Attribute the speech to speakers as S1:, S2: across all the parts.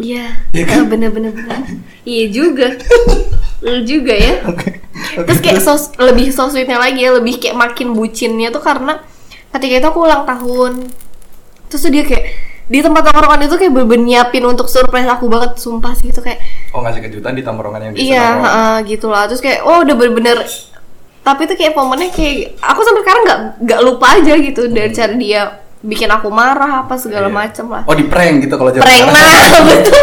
S1: ya kan?
S2: Eh, bener-bener bener. iya juga lu juga ya terus kayak so, lebih so sweetnya lagi ya lebih kayak makin bucinnya tuh karena ketika itu aku ulang tahun terus tuh dia kayak di tempat tongkrongan itu kayak bener nyiapin untuk surprise aku banget sumpah sih itu kayak
S1: Oh ngasih kejutan di tongkrongan yang biasa
S2: iya
S1: nongkrong.
S2: heeh, gitu lah terus kayak oh udah bener-bener tapi itu kayak momennya kayak aku sampai sekarang nggak nggak lupa aja gitu dari cara dia bikin aku marah apa segala
S1: Iya.
S2: macem lah
S1: Oh di prank gitu kalau zaman
S2: prank
S1: sekarang.
S2: nah betul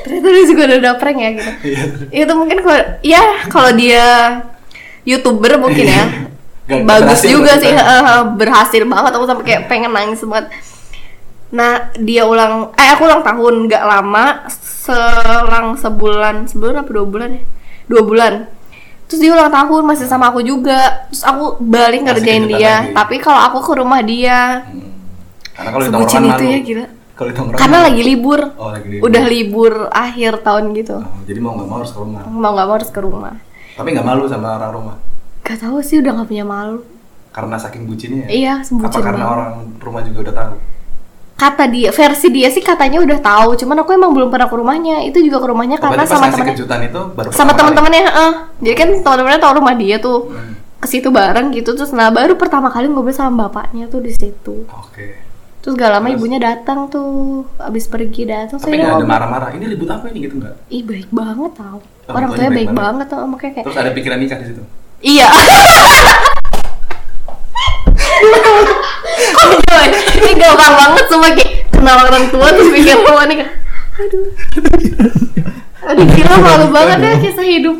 S2: ternyata dia juga udah, udah prank ya gitu
S1: Iya.
S2: itu mungkin kalau ya kalau dia youtuber mungkin ya
S1: Iya. Gak- gak
S2: bagus
S1: berhasil
S2: juga
S1: berarti
S2: sih
S1: kan?
S2: eh, eh, berhasil banget aku sampai kayak pengen nangis banget nah dia ulang eh aku ulang tahun nggak lama selang sebulan sebulan apa dua bulan ya dua bulan terus dia ulang tahun masih sama aku juga terus aku balik
S1: Masih
S2: ngerjain
S1: kejutan
S2: dia
S1: lagi.
S2: tapi kalau aku ke rumah dia
S1: Hmm. Karena kalau di
S2: Sebucin
S1: tongkrongan
S2: itu
S1: malu.
S2: ya, gila.
S1: Kalau di tongkrongan
S2: karena
S1: malu.
S2: lagi libur
S1: Oh lagi libur.
S2: udah libur akhir tahun gitu
S1: Oh, jadi mau nggak mau harus ke rumah.
S2: mau nggak mau harus ke rumah
S1: Tapi nggak malu sama orang rumah.
S2: gak tahu sih udah nggak punya malu
S1: Karena saking bucinnya. ya?
S2: Iya,
S1: Apa
S2: sebucin
S1: karena
S2: banget. Iya,
S1: orang rumah juga udah tahu? Oh,
S2: kata dia versi dia sih katanya udah tahu cuman aku emang belum pernah ke rumahnya itu juga ke rumahnya
S1: Oh,
S2: karena
S1: berarti pas
S2: sama
S1: ngasih
S2: temennya
S1: kejutan itu baru
S2: sama
S1: pertama kali.
S2: teman-temannya heeh. jadi kan teman-temannya tahu rumah dia tuh
S1: Hmm,
S2: ke situ bareng gitu terus nah baru pertama kali ngobrol sama bapaknya tuh di situ
S1: Oke.
S2: terus gak lama
S1: Terus?
S2: ibunya datang tuh abis pergi datang saya
S1: Tapi nggak ada
S2: ngobrol
S1: marah-marah. Ini ribut apa ini gitu nggak?
S2: ih baik banget tau
S1: Oh,
S2: orang
S1: tuanya
S2: tuanya
S1: baik
S2: baik
S1: banget.
S2: banget tau makanya kayak
S1: Terus ada pikiran nikah di situ.
S2: Iya. Kok gila ya? Ini gampang banget semua kayak kenal orang tua terus pikir tua nih kan. Aduh. Aduh gila malu banget ya kisah hidup.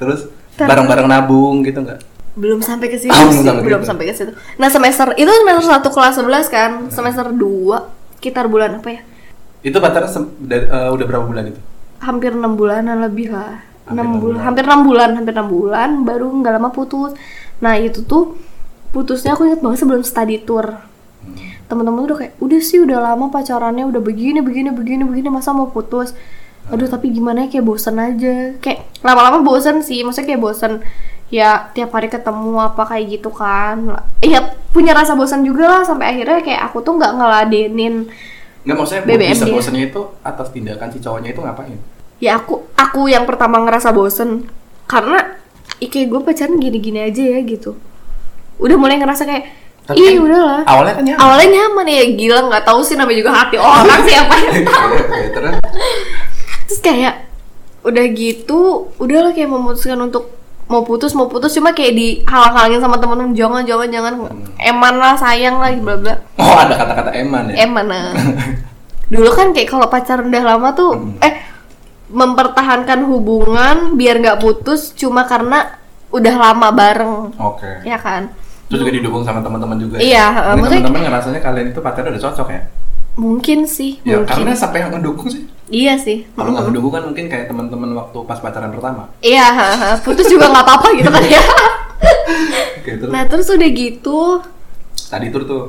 S1: Terus
S2: Terus.
S1: bareng-bareng nabung gitu nggak?
S2: Belum sampai ke situ
S1: Ah, belum
S2: sih,
S1: sampai ke
S2: belum
S1: situ.
S2: sampai ke situ. Nah, semester itu semester 1 kelas 11 kan, semester 2 sekitar bulan apa ya?
S1: Itu pacaran sem- dari- eh, udah berapa bulan itu?
S2: Hampir 6 bulanan lebih lah. 6
S1: Hampir enam
S2: bulan,
S1: bulan.
S2: hampir 6 bulan, hampir 6 bulan baru nggak lama putus. Nah, itu tuh putusnya aku inget banget sebelum study tour. teman-teman udah kayak udah sih udah lama pacarannya udah begini begini begini begini masa mau putus aduh tapi gimana ya kayak bosen aja kayak lama-lama bosen sih maksudnya kayak bosen ya tiap hari ketemu apa kayak gitu kan ya punya rasa bosan juga lah sampai akhirnya kayak aku tuh nggak ngeladenin
S1: Nggak maksudnya
S2: BBM
S1: bisa
S2: dia.
S1: bosannya itu atas tindakan si cowoknya itu ngapain?
S2: ya aku aku yang pertama ngerasa bosen karena ih, kayak gue pacaran gini-gini aja ya gitu udah mulai ngerasa kayak
S1: Tapi
S2: ih
S1: kan
S2: udahlah
S1: awalnya kan nyaman.
S2: awalnya nyaman ya gila nggak tahu sih namanya juga hati orang sih apa ya. yang tahu
S1: Iya, Terus
S2: terus kayak udah gitu udahlah kayak memutuskan untuk mau putus mau putus cuma kayak dihalang-halangin sama temen-temen jangan jangan jangan
S1: Hmm.
S2: eman lah sayang lah bla bla
S1: Oh ada kata-kata eman ya?
S2: eman lah dulu kan kayak kalau pacaran udah lama tuh
S1: Hmm.
S2: eh mempertahankan hubungan biar nggak putus cuma karena udah lama bareng
S1: Oke.
S2: ya kan
S1: Terus juga didukung sama teman-teman juga. ya?
S2: Iya,
S1: Ini
S2: maksudnya-
S1: teman-teman ngerasanya kalian itu pacarnya udah cocok ya?
S2: mungkin sih
S1: Ya, karena
S2: mungkin
S1: siapa yang ngedukung sih?
S2: iya sih
S1: Kalau nggak ngedukung kan mungkin kayak teman-teman waktu pas pacaran pertama.
S2: iya ha, ha. putus juga nggak apa-apa gitu kan ya
S1: Oke, terus
S2: nah terus udah gitu
S1: tadi tur tuh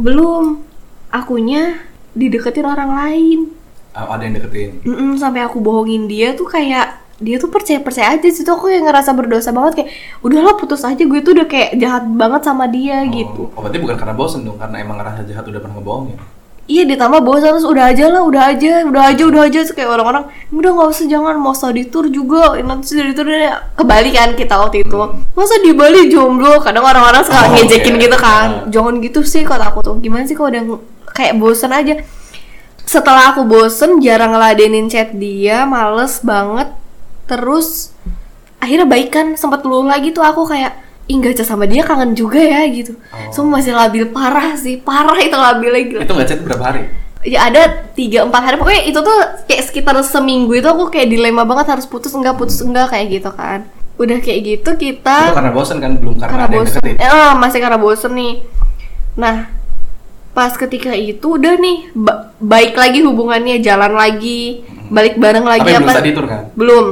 S2: belum akunya dideketin orang lain
S1: uh, ada yang deketin.
S2: Mm-mm, sampai aku bohongin dia tuh kayak dia tuh percaya percaya aja sih tuh aku yang ngerasa berdosa banget kayak udahlah putus aja gue tuh udah kayak jahat banget sama dia gitu
S1: Oh, berarti bukan karena bosen dong, karena emang ngerasa jahat udah pernah ngebohongin.
S2: iya ditambah bosan terus udah aja lah udah aja udah aja udah aja Terus kayak orang-orang udah nggak usah jangan mau study tour juga nanti study tour dia- ke Bali kan kita waktu itu masa di Bali jomblo kadang orang-orang suka
S1: Hmm. Oh,
S2: ngejekin
S1: oke.
S2: gitu kan
S1: Ah.
S2: jangan gitu sih kata aku tuh gimana sih kalau udah ng- kayak bosan aja setelah aku bosen jarang ngeladenin chat dia males banget terus akhirnya baikan sempat luluh lagi tuh aku kayak Ih nggak chat sama dia kangen juga ya gitu
S1: Oh.
S2: So masih labil parah sih Parah itu labilnya gila
S1: Itu nggak chat berapa hari?
S2: ya ada tiga empat hari pokoknya itu tuh kayak sekitar seminggu itu aku kayak dilema banget harus putus enggak putus enggak kayak gitu kan udah kayak gitu
S1: Itu
S2: kita
S1: karena bosen kan, belum karena,
S2: karena
S1: ada yang
S2: bosen
S1: deketin.
S2: eh, eh, masih karena bosen nih nah pas ketika itu udah nih ba- baik lagi hubungannya jalan lagi balik bareng lagi
S1: Tapi belum
S2: apa
S1: tadi tur kan?
S2: belum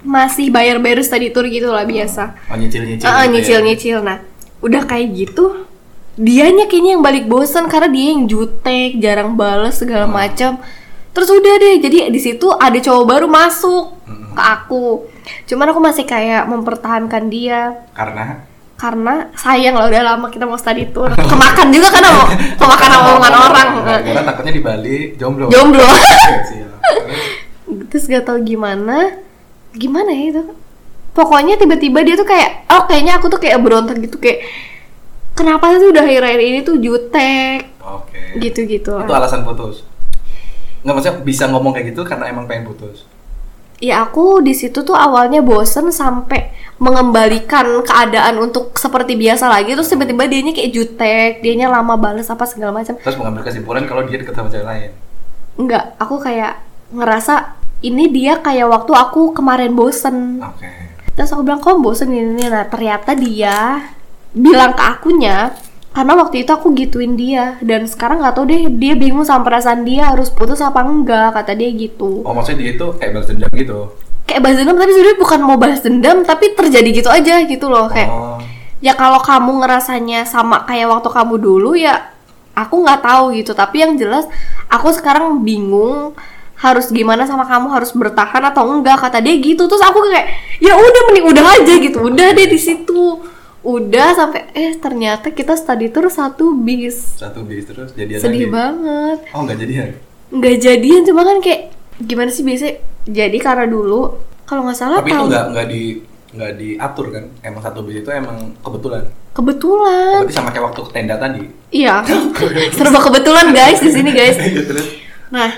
S2: masih bayar-bayar study tour gitu lah biasa
S1: Oh nyicil-nyicil.
S2: Ah, ah,
S1: gitu ya.
S2: nyicil nyicil. Nah, udah kayak gitu, dianya kayaknya yang balik bosan karena dia yang jutek, jarang bales segala macam. Terus udah deh, jadi di situ ada cowok baru masuk ke aku. Cuman aku masih kayak mempertahankan dia
S1: Karena
S2: karena sayang lah udah lama kita mau study tour kemakan juga kan sama kemakan sama omongan orang
S1: Oh, iya, Karena takutnya di Bali jomblo. Iya
S2: jomblo
S1: Oke, siap.
S2: terus gak tau gimana gimana ya itu pokoknya tiba-tiba dia tuh kayak oh kayaknya aku tuh kayak berontak gitu kayak kenapa sih udah akhir-akhir ini tuh jutek
S1: Oke.
S2: gitu-gitu
S1: Itu alasan putus. Nggak maksudnya bisa ngomong kayak gitu karena emang pengen putus.
S2: Ya aku di situ tuh awalnya bosen sampai mengembalikan keadaan untuk seperti biasa lagi terus tiba-tiba dianya kayak jutek, dianya lama bales apa segala macam.
S1: Terus mengambil kesimpulan kalau dia deket sama cewek lain.
S2: Enggak, aku kayak ngerasa ini dia kayak waktu aku kemarin bosen.
S1: Oke.
S2: Terus aku bilang, "Kok bosen ini?" ini?" Nah, ternyata dia bilang ke akunya karena waktu itu aku gituin dia dan sekarang nggak tahu deh dia bingung sama perasaan dia harus putus apa enggak kata dia gitu
S1: Oh maksudnya dia itu kayak balas dendam gitu.
S2: kayak balas dendam tapi sebenarnya bukan mau balas dendam tapi terjadi gitu aja gitu loh kayak
S1: Oh.
S2: ya kalau kamu ngerasanya sama kayak waktu kamu dulu ya aku nggak tahu gitu tapi yang jelas aku sekarang bingung harus gimana sama kamu harus bertahan atau enggak kata dia gitu terus aku kayak ya udah mending udah aja gitu udah deh di situ udah sampai eh ternyata kita study tour satu bis
S1: Satu bis terus jadian
S2: sedih
S1: Iya lagi.
S2: banget
S1: Oh nggak jadian.
S2: nggak jadian cuma kan kayak gimana sih biasanya jadi karena dulu kalau nggak salah
S1: Tapi itu
S2: tahun-
S1: nggak nggak di nggak diatur kan. Emang satu bis itu emang kebetulan.
S2: Eh. kebetulan
S1: Berarti sama kayak waktu ke tenda tadi.
S2: iya serba kebetulan guys di sini guys
S1: Iya, terus.
S2: Nah,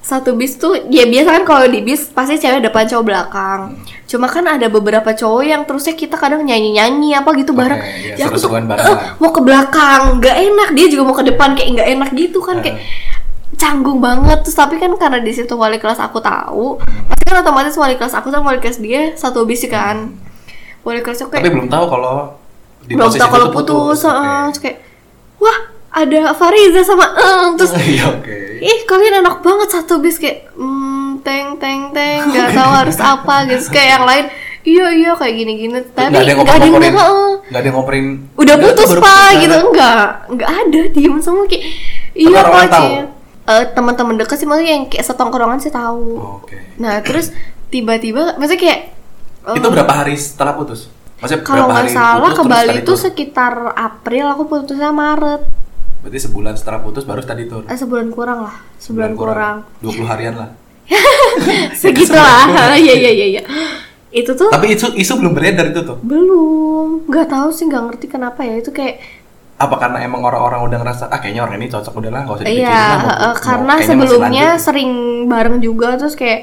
S2: satu bis tuh ya biasa kan kalau di bis pasti cewek depan cowok belakang. Cuma kan ada beberapa cowok yang terusnya kita kadang nyanyi-nyanyi apa gitu
S1: Oke,
S2: bareng.
S1: iya,
S2: Ya, aku tuh
S1: seru-seruan bareng
S2: "Eh,
S1: lah."
S2: mau ke belakang, nggak enak. Dia juga mau ke depan kayak nggak enak gitu kan kayak
S1: Eh.
S2: canggung banget terus tapi kan karena di situ wali kelas aku tahu pasti kan otomatis wali kelas aku sama wali kelas dia satu bis kan wali kelas aku kayak
S1: Tapi belum tahu kalau di
S2: belum
S1: posisi
S2: tahu
S1: itu
S2: kalau
S1: tuh
S2: putus,
S1: Oke.
S2: heeh. terus kayak wah ada Fariza sama Eng terus
S1: Iya oke.
S2: ih kalian enak banget satu bis kayak hmm, teng teng teng nggak tahu harus apa gitu Terus kayak yang lain iya iya kayak gini gini tapi
S1: Nggak ada yang
S2: nggak ada yang
S1: ngoper-ngoperin.
S2: heeh.
S1: Nggak ada yang ngoperin.
S2: udah
S1: Nggak,
S2: putus
S1: baru
S2: pak
S1: putus, kan?
S2: gitu
S1: nggak ada.
S2: enggak enggak ada diem semua kayak iya
S1: orang-orang
S2: pak
S1: tahu?
S2: Cie." Eh, teman-teman dekat sih maksudnya yang kayak setongkrongan sih tahu
S1: Oh, Oke.
S2: nah terus tiba-tiba maksudnya kayak eh,
S1: Itu berapa hari setelah putus? Maksudnya
S2: kalau
S1: berapa
S2: nggak
S1: hari
S2: salah
S1: putus
S2: ke
S1: terus
S2: Bali
S1: study
S2: itu
S1: tour?
S2: sekitar April aku putusnya Maret
S1: Berarti sebulan setelah putus baru study tour.
S2: eh sebulan kurang lah sebulan kurang
S1: 20 harian lah. Iya,
S2: segitulah iya iya iya iya itu tuh
S1: Tapi isu isu belum beredar itu tuh.
S2: belum nggak tahu sih nggak ngerti kenapa ya itu kayak
S1: Apa karena emang orang-orang udah ngerasa ah kayaknya orang ini cocok udah lah nggak usah dipikirin
S2: iya
S1: lah, mau-
S2: eh,
S1: mau-
S2: karena
S1: kayaknya masih
S2: sebelumnya
S1: lanjut.
S2: sering bareng juga terus kayak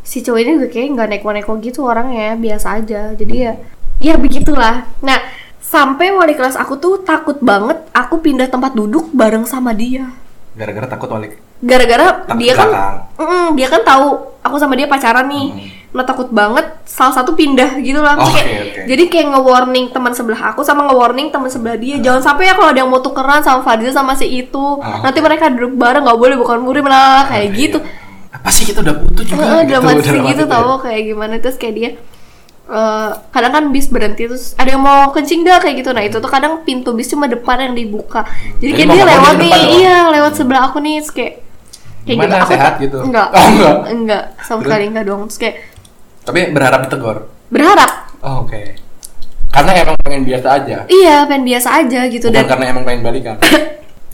S2: si cowok ini juga kayak nggak neko-neko gitu orangnya biasa aja jadi ya ya begitulah nah sampai wali kelas aku tuh takut banget aku pindah tempat duduk bareng sama dia
S1: gara-gara takut balik
S2: gara-gara
S1: Takut
S2: dia kan
S1: belakang.
S2: Mm, dia kan tahu aku sama dia pacaran nih nah takut banget salah satu pindah gitu lah
S1: Oke,
S2: Kayak-
S1: oke.
S2: jadi kayak nge-warning teman sebelah aku sama nge-warning teman sebelah dia jangan sampai ya kalau ada yang mau tukeran sama Fadil sama si itu
S1: Mm. Ah.
S2: nanti mereka duduk bareng nggak boleh bukan murid lah kayak
S1: Iya.
S2: gitu
S1: Apa sih kita udah putus juga
S2: Heeh,
S1: gitu,
S2: dalam hati
S1: dalam
S2: gitu,
S1: hati tuh ya.
S2: tau kayak gimana terus kayak dia eh, kadang kan bis berhenti terus ada yang mau kencing dah kayak gitu nah itu tuh kadang pintu bis cuma depan yang dibuka jadi
S1: Jadi
S2: kayak
S1: mau
S2: dia
S1: nggak mau
S2: lewat
S1: dia
S2: nih
S1: di depan dong.
S2: iya lewat sebelah aku nih terus kayak kayak
S1: Gimana,
S2: Aku-
S1: sehat gitu?
S2: enggak
S1: Oh, enggak.
S2: enggak sama
S1: Terus?
S2: sekali enggak dong terus kayak
S1: Tapi berharap ditegur.
S2: berharap
S1: Oh, oke. Karena emang pengen biasa aja.
S2: iya pengen biasa aja gitu
S1: Bukan
S2: dan
S1: karena emang pengen balikan.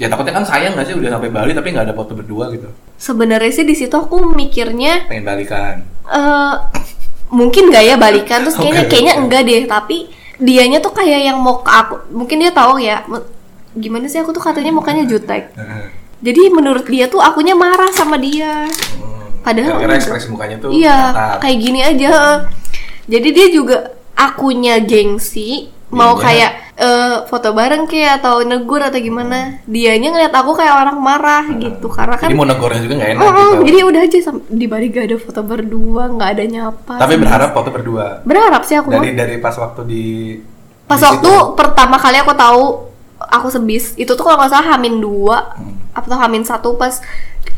S1: ya takutnya kan sayang gak sih udah sampai Bali tapi nggak ada foto berdua gitu.
S2: sebenarnya sih di situ aku mikirnya
S1: Pengen balikan.
S2: eh mungkin nggak ya balikan terus kayaknya
S1: Oke.
S2: kayaknya enggak deh tapi dianya tuh kayak yang mau ke aku mungkin dia tahu ya me- gimana sih aku tuh katanya mukanya jutek
S1: Heeh.
S2: jadi menurut dia tuh akunya marah sama dia
S1: Hmm.
S2: Padahal-
S1: Gara-gara ekspresi mukanya tuh
S2: iya
S1: kelihatan.
S2: kayak gini aja jadi dia juga akunya gengsi mau
S1: Iya.
S2: kayak eh, foto bareng kayak atau negur atau gimana dianya ngeliat aku kayak orang marah gitu karena kan
S1: Nah, Jadi mau negornya juga nggak enak
S2: Mm-mm,
S1: gitu.
S2: jadi udah aja sam- di Bali gak ada foto berdua nggak ada nyapa
S1: Tapi berharap foto berdua.
S2: berharap sih aku
S1: Dari
S2: mah.
S1: dari pas waktu di
S2: pas
S1: di
S2: waktu
S1: situ.
S2: pertama kali aku tahu aku sebis itu tuh kalau nggak salah hamin dua
S1: Hmm.
S2: atau hamin satu pas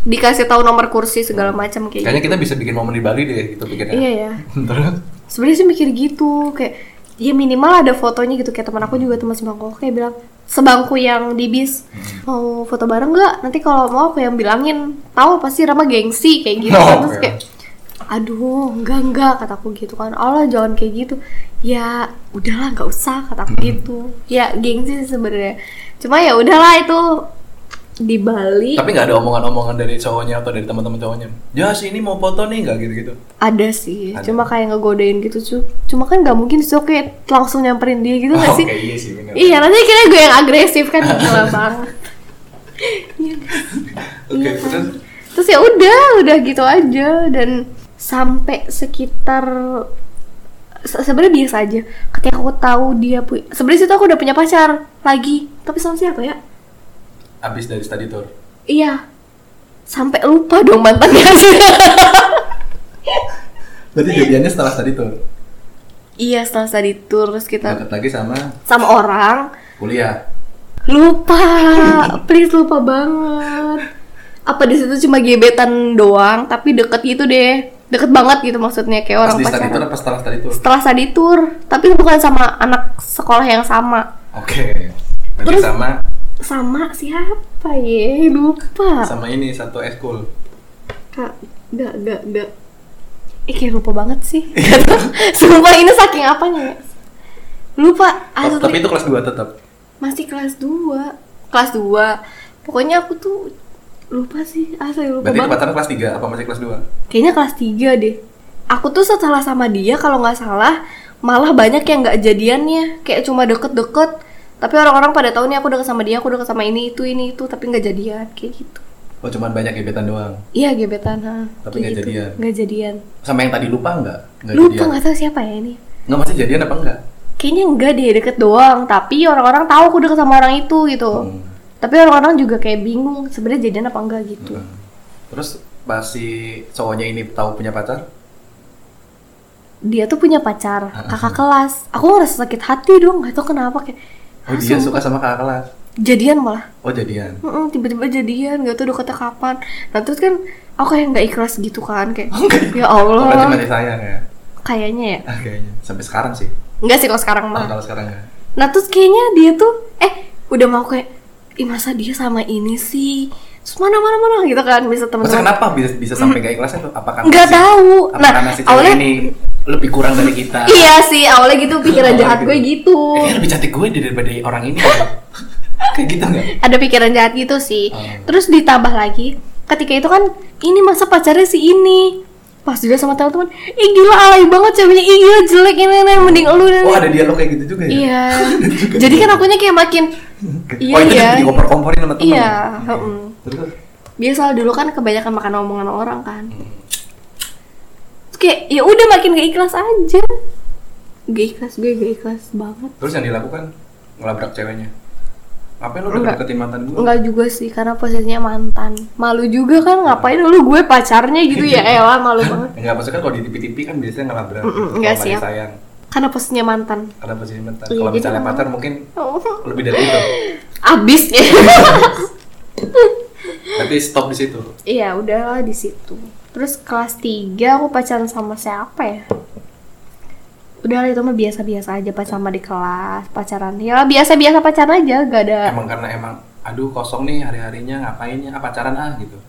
S2: dikasih tahu nomor kursi segala macam kayak gitu.
S1: Kayaknya kita bisa bikin momen di Bali deh gitu bikinnya.
S2: iya ya
S1: Terus
S2: sebenarnya sih mikir gitu kayak ya minimal ada fotonya gitu kayak teman aku juga teman sebangku aku kayak bilang sebangku yang di bis
S1: Hmm.
S2: mau foto bareng nggak nanti kalau mau aku yang bilangin tahu pasti Rama gengsi kayak gitu
S1: No,
S2: terus
S1: ya.
S2: kayak aduh enggak enggak kataku gitu kan Allah jangan kayak gitu ya udahlah nggak usah kataku
S1: Hmm.
S2: gitu ya gengsi sih sebenarnya cuma ya udahlah itu di Bali
S1: Tapi nggak ada omongan-omongan dari cowoknya atau dari teman-teman cowoknya. Ya si ini mau foto nih nggak gitu-gitu.
S2: ada sih
S1: Ada.
S2: cuma kayak ngegodain gitu cu- cuma kan nggak mungkin sih oke langsung nyamperin dia gitu nggak
S1: Oh,
S2: sih
S1: Oke iya sih benar.
S2: iya nanti kira gue yang agresif kan gila banget Iya.
S1: Oke
S2: Iya.
S1: terus
S2: terus ya udah udah gitu aja dan sampai sekitar se- sebenarnya biasa aja ketika aku tahu dia punya sebenarnya situ aku udah punya pacar lagi tapi sama siapa ya
S1: abis dari study tour.
S2: iya sampai lupa dong mantannya
S1: Berarti jadiannya setelah study tour.
S2: iya setelah study tour terus kita
S1: Deket lagi sama
S2: sama orang
S1: kuliah.
S2: lupa please lupa banget apa di situ cuma gebetan doang tapi deket gitu deh deket banget gitu maksudnya kayak
S1: Pas
S2: orang
S1: di study tour
S2: pacaran
S1: apa setelah study tour?
S2: setelah study tour tapi bukan sama anak sekolah yang sama
S1: Oke. Berarti
S2: Terus-
S1: sama
S2: sama siapa ya lupa
S1: sama ini satu eskul.
S2: kak gak gak gak eh kayak lupa banget sih Gak
S1: Iya.
S2: tau. sumpah ini saking apanya ya lupa
S1: Tapi
S2: asli.
S1: tapi itu kelas 2 tetap.
S2: masih kelas 2 kelas 2 pokoknya aku tuh lupa sih asli lupa
S1: Berarti itu
S2: banget
S1: pacaran kelas 3 apa masih kelas 2?
S2: kayaknya kelas 3 deh aku tuh setelah sama dia kalau nggak salah malah banyak yang nggak jadiannya kayak cuma deket-deket tapi orang-orang pada tahu nih aku deket sama dia aku deket sama ini itu ini itu tapi nggak jadian kayak gitu
S1: Oh cuman banyak gebetan doang.
S2: iya gebetan ha. Kayak
S1: Tapi nggak
S2: gitu.
S1: jadian.
S2: nggak jadian
S1: Sama yang tadi lupa nggak? Nggak
S2: lupa
S1: jadian.
S2: nggak tahu siapa ya ini
S1: Nggak masih jadian apa enggak?
S2: kayaknya enggak deh deket doang tapi orang-orang tahu aku deket sama orang itu gitu
S1: Hmm.
S2: tapi orang-orang juga kayak bingung sebenarnya jadian apa enggak gitu
S1: Hmm. Terus pas si cowoknya ini tahu punya pacar,
S2: dia tuh punya pacar
S1: Hmm.
S2: kakak kelas aku ngerasa sakit hati dong nggak tahu kenapa kayak
S1: oh dia suka sama kakak kelas.
S2: jadian malah
S1: Oh jadian.
S2: Mm-mm, tiba-tiba jadian nggak tahu deketnya kapan nah terus kan aku kayak nggak ikhlas gitu kan kayak ya
S1: Oh, berarti
S2: Allah
S1: masih sayang ya?
S2: kayaknya ya
S1: Ah, kayaknya. Sampai sekarang sih.
S2: nggak sih kalau sekarang
S1: Oh,
S2: mah
S1: kalau sekarang nggak.
S2: nah terus kayaknya dia tuh eh udah mau kayak Ih masa dia sama ini sih Terus mana mana mana gitu kan Bisa
S1: Masa
S2: temen-temen
S1: kenapa bisa, bisa sampai gak ikhlas itu? Apakah
S2: Hmm. Nggak
S1: masih-
S2: tahu.
S1: Apa
S2: Nah,
S1: karena si cewek
S2: awalnya-
S1: ini lebih kurang dari kita?
S2: Iya sih awalnya gitu pikiran
S1: Awalnya
S2: jahat
S1: gitu.
S2: gue gitu
S1: Eh, lebih cantik gue daripada orang ini. ya. Kayak gitu nggak?
S2: Ada pikiran jahat gitu sih
S1: Hmm.
S2: Terus ditambah lagi Ketika itu kan Ini masa pacarnya si ini Pas juga sama teman-teman Ih gila alay banget ceweknya Ih gila jelek ini, ini mending lu ini, ini."
S1: Oh ada dialog kayak gitu juga ya?
S2: Iya. Jadi kan akunya kayak makin
S1: oh
S2: Iya,
S1: itu
S2: iya.
S1: dikompor-komporin sama temen?
S2: Iya,
S1: Oke.
S2: heem.
S1: Terus? Hmm.
S2: biasa dulu kan kebanyakan makan omongan orang kan. Terus kayak ya udah makin gak ikhlas aja. Gak ikhlas gue gak ikhlas banget.
S1: Terus yang dilakukan ngelabrak ceweknya. Ngapain lu udah
S2: Enggak.
S1: deketin mantan gue?
S2: Enggak juga sih karena posisinya mantan. Malu juga kan ngapain dulu gue pacarnya gitu ya elah malu banget.
S1: Enggak, maksudnya kalau di tipi-tipi kan biasanya ngelabrak.
S2: Mm-mm,
S1: Kalau
S2: enggak
S1: nggak
S2: siap.
S1: disayang.
S2: Karena posisinya mantan.
S1: Karena posisi mantan.
S2: Iya,
S1: Kalau
S2: jadi
S1: misalnya
S2: emang-
S1: pacar mungkin
S2: Oh,
S1: lebih dari itu.
S2: Abis ya.
S1: Berarti stop di situ.
S2: Iya udahlah di situ. Terus kelas 3 aku pacaran sama siapa ya? Udah itu mah biasa-biasa aja pas sama di kelas pacaran. Ya biasa-biasa pacaran aja, gak ada.
S1: Emang karena emang aduh kosong nih hari-harinya ngapain ya ah, pacaran ah gitu.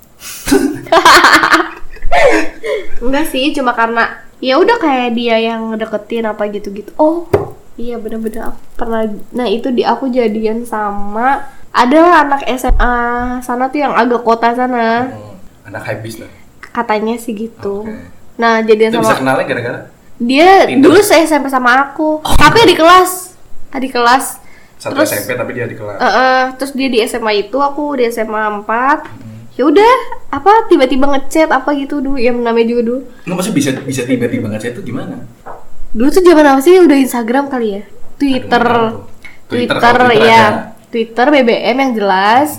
S2: Enggak sih, cuma karena ya udah kayak dia yang deketin apa gitu-gitu. Oh, iya bener-bener aku pernah. Nah itu di aku jadian sama ada anak SMA sana tuh yang agak kota sana
S1: Hmm, anak high lah.
S2: katanya sih gitu.
S1: Oke.
S2: Nah jadian
S1: Itu bisa
S2: sama
S1: kenalnya gara-gara
S2: Dia
S1: Tinder. Oh.
S2: dulu saya SMP sama aku, tapi di kelas, di kelas.
S1: satu
S2: Terus-
S1: SMP tapi dia di kelas.
S2: Eh, eh, terus dia di SMA itu, aku di SMA 4
S1: Hmm.
S2: Ya udah, apa tiba-tiba ngechat apa gitu dulu, ya namanya juga dulu.
S1: Nggak maksudnya bisa bisa tiba-tiba ngechat itu gimana?
S2: Dulu tuh zaman apa sih? Udah Instagram kali ya, Twitter,
S1: Aduh, nggak tahu.
S2: Twitter,
S1: Twitter, kalau Twitter
S2: ya,
S1: ada. Hmm.
S2: Twitter, BBM yang jelas.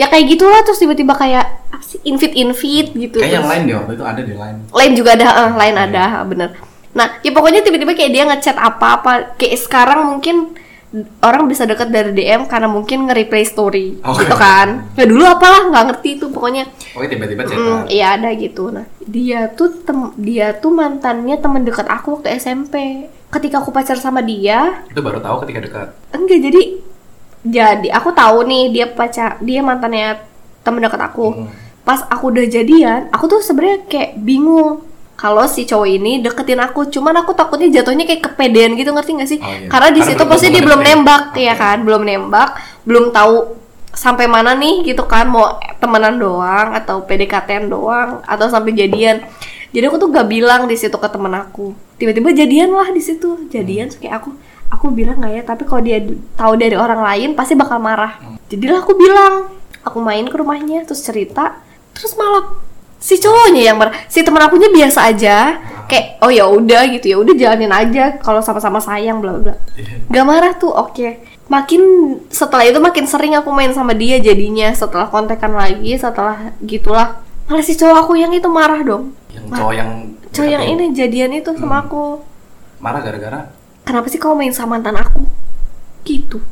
S2: Ya kayak gitulah terus tiba-tiba kayak apa sih invite invite gitu.
S1: Kayak yang
S2: Terus-
S1: lain deh waktu itu ada di lain.
S2: lain juga ada eh, lain ada bener nah ya pokoknya tiba-tiba kayak dia ngechat apa-apa kayak sekarang mungkin orang bisa deket dari DM karena mungkin nge-replay story
S1: Oke.
S2: gitu kan ya dulu apalah nggak ngerti itu pokoknya
S1: Oke tiba-tiba chat.
S2: mm, iya ada gitu nah dia tuh tem- dia tuh mantannya teman dekat aku waktu SMP ketika aku pacar sama dia
S1: Itu baru tahu ketika dekat.
S2: enggak jadi jadi aku tahu nih dia pacar dia mantannya temen dekat aku
S1: Hmm.
S2: pas aku udah jadian aku tuh sebenarnya kayak bingung kalau si cowok ini deketin aku cuman aku takutnya jatuhnya kayak kepedean gitu ngerti nggak sih
S1: Oh, iya.
S2: karena di
S1: Karena
S2: situ
S1: belum
S2: pasti dia
S1: tahu
S2: belum
S1: ada yang-
S2: nembak ya
S1: Oke.
S2: kan belum nembak belum tahu sampai mana nih gitu kan mau temenan doang atau PDKT doang atau sampai jadian jadi aku tuh gak bilang di situ ke temen aku tiba-tiba jadian lah di situ jadian terus kayak aku aku bilang nggak ya tapi kalau dia d- tahu dari orang lain pasti bakal marah jadilah aku bilang aku main ke rumahnya terus cerita terus malah si cowoknya yang marah si temen akunya biasa aja kayak oh ya udah gitu ya udah jalanin aja kalau sama-sama sayang bla bla
S1: Iya,
S2: Gak marah tuh, oke. Makin setelah itu makin sering aku main sama dia jadinya setelah kontekan lagi, setelah gitulah. Malah si cowok aku yang itu marah dong.
S1: yang cowok yang
S2: Cowok yang
S1: Atau
S2: ini jadian itu sama
S1: Hmm.
S2: aku.
S1: marah gara-gara
S2: Kenapa sih kau main sama mantan aku? Gitu.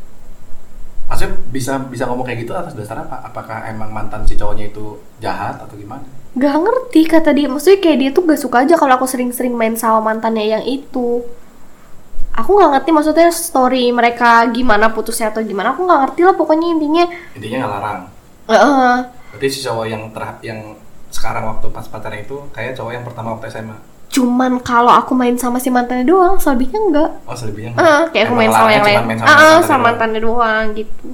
S1: maksudnya bisa bisa ngomong kayak gitu atas dasar apa apakah emang mantan si cowoknya itu jahat atau gimana
S2: Gak ngerti kata dia. Maksudnya kayak dia tuh gak suka aja kalau aku sering-sering main sama mantannya yang itu. Aku gak ngerti maksudnya story mereka gimana putusnya atau gimana. Aku gak ngerti lah pokoknya intinya.
S1: intinya ngelarang
S2: eh,
S1: berarti si cowok yang ter- yang sekarang waktu pas pacaran itu kayak cowok yang pertama waktu SMA
S2: cuman kalau aku main sama si mantannya doang, selebihnya enggak.
S1: oh selebihnya
S2: Heeh, kayak aku
S1: emang
S2: main sama
S1: larangnya
S2: yang lain.
S1: cuman main sama
S2: Heeh,
S1: mantan
S2: sama
S1: doang.
S2: mantannya doang gitu.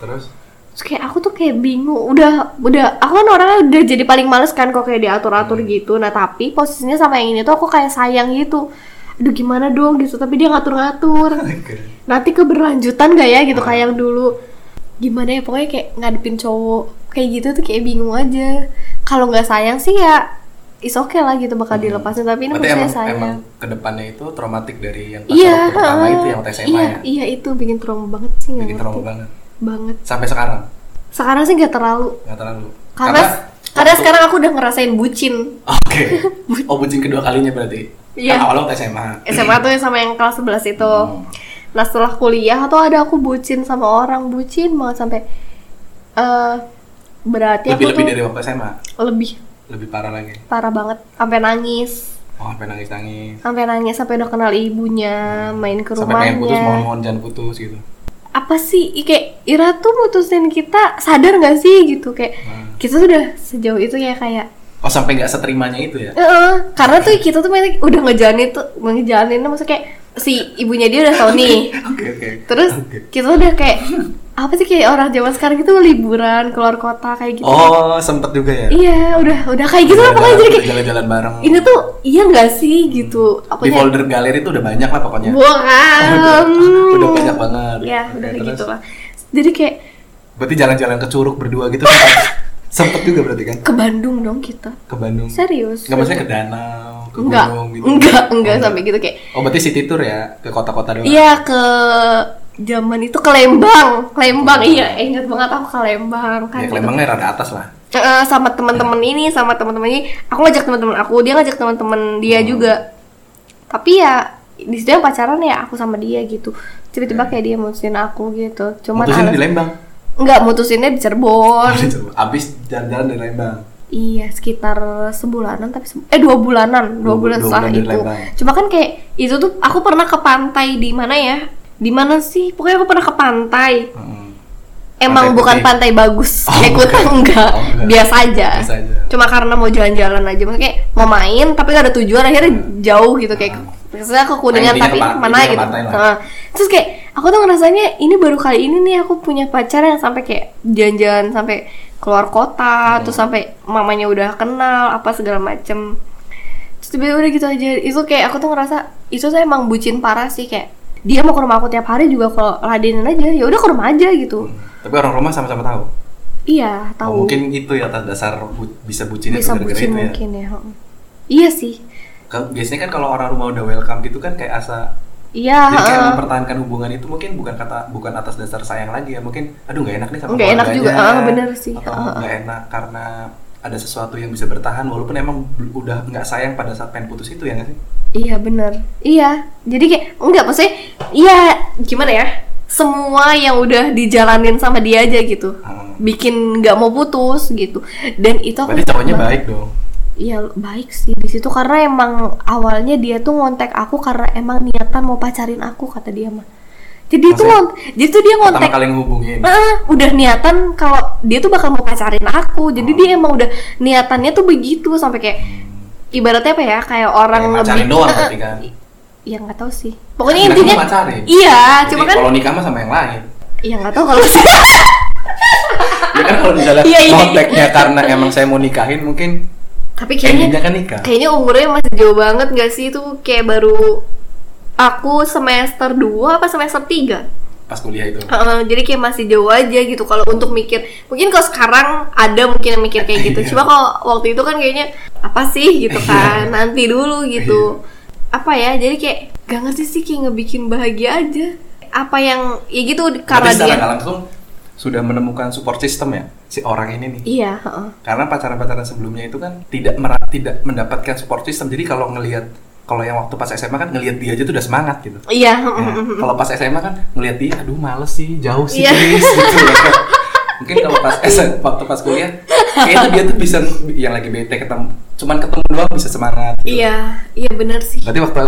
S1: terus
S2: Terus kayak aku tuh kayak bingung, udah udah aku kan orangnya udah jadi paling males kan kok kayak diatur-atur
S1: Hmm.
S2: gitu. Nah, tapi posisinya sama yang ini tuh aku kayak sayang gitu. Aduh gimana dong gitu, tapi dia ngatur-ngatur. Nanti keberlanjutan gak ya gitu kayak yang dulu. Gimana ya pokoknya kayak ngadepin cowok kayak gitu tuh kayak bingung aja. Kalau nggak sayang sih ya is oke lah gitu bakal dilepasin tapi ini
S1: Hmm. berarti
S2: maksudnya
S1: emang,
S2: sayang.
S1: emang kedepannya itu traumatik dari yang pas
S2: Iya,
S1: waktu pertama
S2: heeh.
S1: itu yang waktu SMA
S2: iya,
S1: ya
S2: iya itu bikin trauma banget sih. nggak
S1: bikin trauma
S2: ngerti.
S1: banget
S2: banget.
S1: sampai sekarang
S2: Sekarang sih nggak terlalu.
S1: nggak terlalu
S2: Karena karena
S1: waktu-
S2: sekarang aku udah ngerasain bucin.
S1: oke oh bucin kedua kalinya berarti
S2: Iya.
S1: kan awalnya waktu SMA
S2: SMA tuh yang sama yang kelas 11 itu.
S1: Hmm.
S2: Nah setelah kuliah tuh ada aku bucin sama orang bucin banget sampai eh berarti
S1: lebih
S2: aku
S1: lebih
S2: tuh
S1: dari waktu SMA
S2: lebih
S1: lebih parah lagi
S2: parah banget sampai nangis
S1: oh sampai nangis nangis
S2: sampai nangis sampai udah kenal ibunya main ke
S1: sampai pengen putus mohon
S2: rumahnya
S1: mohon jangan putus gitu
S2: apa sih I- kayak Ira tuh mutusin kita sadar nggak sih gitu kayak
S1: Nah.
S2: kita tuh udah sejauh itu ya kayak
S1: oh sampai nggak seterimanya itu ya
S2: Heeh, karena tuh kita tuh mainnya udah ngejalanin tuh ngejalanin maksudnya kayak si ibunya dia udah tahu nih
S1: oke oke
S2: terus
S1: Oke.
S2: kita udah kayak apa sih kayak orang zaman sekarang gitu liburan keluar kota kayak gitu
S1: oh sempet juga ya
S2: iya udah udah kayak gitu lah pokoknya jadi kayak
S1: jalan-jalan bareng
S2: ini tuh iya nggak sih gitu
S1: Hmm. di
S2: apanya
S1: folder galeri itu udah banyak lah pokoknya
S2: bukan
S1: udah banyak banget
S2: ya
S1: Oke,
S2: udah kayak
S1: terus?
S2: gitu lah jadi kayak
S1: berarti jalan-jalan ke Curug berdua gitu sempet, sempet juga berarti kan
S2: ke Bandung dong kita
S1: ke Bandung
S2: serius
S1: nggak maksudnya ke danau ke
S2: enggak
S1: gunung gitu
S2: enggak enggak
S1: Oh,
S2: sampai gitu kayak
S1: oh berarti city tour ya ke kota-kota doang
S2: Iya ke zaman itu ke Lembang, Ke Lembang iya ingat banget aku ke Lembang kan.
S1: ya
S2: gitu.
S1: Kelembangnya rada atas lah
S2: Eh, sama teman-teman ini sama teman-teman ini, aku ngajak teman-teman aku, dia ngajak teman-teman dia
S1: Hmm.
S2: juga. Tapi ya di situ yang pacaran ya aku sama dia gitu. Tiba-tiba kayak dia mutusin aku gitu. Cuman
S1: Hmm. mutusin
S2: alas-
S1: di Lembang
S2: enggak mutusinnya di Cirebon.
S1: abis jalan-jalan di Lembang
S2: Iya sekitar sebulanan tapi se- eh dua bulanan dua,
S1: Dua bu-
S2: bulan
S1: dua
S2: setelah
S1: bulan dari
S2: itu.
S1: Lembang.
S2: Cuma kan kayak itu tuh aku pernah ke pantai di mana ya? Di mana sih? Pokoknya aku pernah ke pantai.
S1: Mm-mm.
S2: Emang
S1: Pantai
S2: bukan
S1: putih.
S2: pantai bagus,
S1: Oh,
S2: naik
S1: bukan.
S2: utang enggak,
S1: Oh, enggak.
S2: biasa aja.
S1: Biasa aja.
S2: Cuma karena mau jalan-jalan aja, maksudnya kayak mau main tapi gak ada tujuan akhirnya jauh gitu kayak misalnya ke kuningan
S1: Nah, intinya
S2: tapi
S1: ke pan-
S2: mana
S1: intinya ke
S2: gitu.
S1: pantai lah.
S2: Heeh. Terus kayak aku tuh ngerasanya ini baru kali ini nih aku punya pacar yang sampai kayak jalan-jalan sampai keluar
S1: Hmm.
S2: kota, terus sampai mamanya udah kenal apa segala macem. Terus tiba-tiba udah gitu aja. Itu kayak aku tuh ngerasa itu tuh emang bucin parah sih kayak dia mau ke rumah aku tiap hari juga kalau ladenin aja ya udah ke rumah aja gitu
S1: tapi orang rumah sama-sama tahu
S2: Iya,
S1: Oh,
S2: tahu.
S1: mungkin itu ya atas dasar bu- bisa bucinnya
S2: bisa
S1: tuh gara-gara
S2: bucin
S1: itu ya.
S2: mungkin ya. heeh. Iya sih.
S1: Kalau- biasanya kan kalau orang rumah udah welcome gitu kan kayak asa
S2: Iya,
S1: jadi kayak
S2: heeh.
S1: mempertahankan hubungan itu mungkin bukan kata bukan atas dasar sayang lagi ya mungkin aduh nggak enak nih sama
S2: Nggak enak
S1: keluarganya,
S2: juga, ah, bener sih.
S1: atau
S2: Ah, ah.
S1: nggak enak karena ada sesuatu yang bisa bertahan walaupun emang bel- udah nggak sayang pada saat pengen putus itu ya nggak sih
S2: iya benar. Iya. Jadi kayak enggak maksudnya iya gimana ya? Semua yang udah dijalanin sama dia aja gitu.
S1: Hmm.
S2: Bikin nggak mau putus gitu. Dan itu aku
S1: berarti cowoknya baik dong
S2: Iya baik sih di situ karena emang awalnya dia tuh ngontek aku karena emang niatan mau pacarin aku kata dia mah. Jadi itu
S1: Maksudnya?
S2: ngont- jadi tuh dia
S1: pertama
S2: ngontek
S1: kali ngehubungin
S2: Heeh, Ah, udah niatan kalau dia tuh bakal mau pacarin aku jadi dia emang udah niatannya tuh begitu sampai kayak ibaratnya apa ya kayak orang
S1: Kayak
S2: lebih
S1: pacarin doang berarti kan.
S2: ya nggak tahu sih pokoknya
S1: Mereka
S2: intinya
S1: pacarin.
S2: iya
S1: Jadi
S2: cuma kan
S1: kalau nikah mah sama yang lain.
S2: ya nggak tahu kalau sih
S1: Ya kan kalau misalnya
S2: Iya, iya.
S1: kontaknya karena emang saya mau nikahin mungkin
S2: tapi kayaknya
S1: endingnya kan nikah.
S2: kayaknya umurnya masih jauh banget nggak sih itu kayak baru aku semester 2 apa semester 3
S1: Pas kuliah itu.
S2: Heeh, jadi kayak masih jauh aja gitu kalau untuk mikir mungkin kalau sekarang ada mungkin yang mikir kayak gitu
S1: Iya.
S2: cuma kalau waktu itu kan kayaknya apa sih gitu kan nanti dulu gitu
S1: Iya.
S2: apa ya jadi kayak gak ngerti sih kayak ngebikin bahagia aja apa yang ya gitu karena
S1: Berarti secara
S2: dia
S1: nggak langsung sudah menemukan support system ya si orang ini nih.
S2: iya heeh.
S1: Karena pacaran-pacaran sebelumnya itu kan tidak mera- tidak mendapatkan support system. Jadi kalau ngelihat kalau yang waktu pas SMA kan ngelihat dia aja tuh udah semangat gitu.
S2: iya
S1: Ya,
S2: heeh.
S1: kalau pas SMA kan ngelihat dia, aduh males sih, jauh sih,
S2: Iya.
S1: please," gitu ya kan. Mungkin kalau pas SMA, waktu pas kuliah, kayaknya dia tuh bisa yang lagi bete ketemu, cuman ketemu doang bisa semangat.
S2: iya iya benar sih
S1: Berarti waktu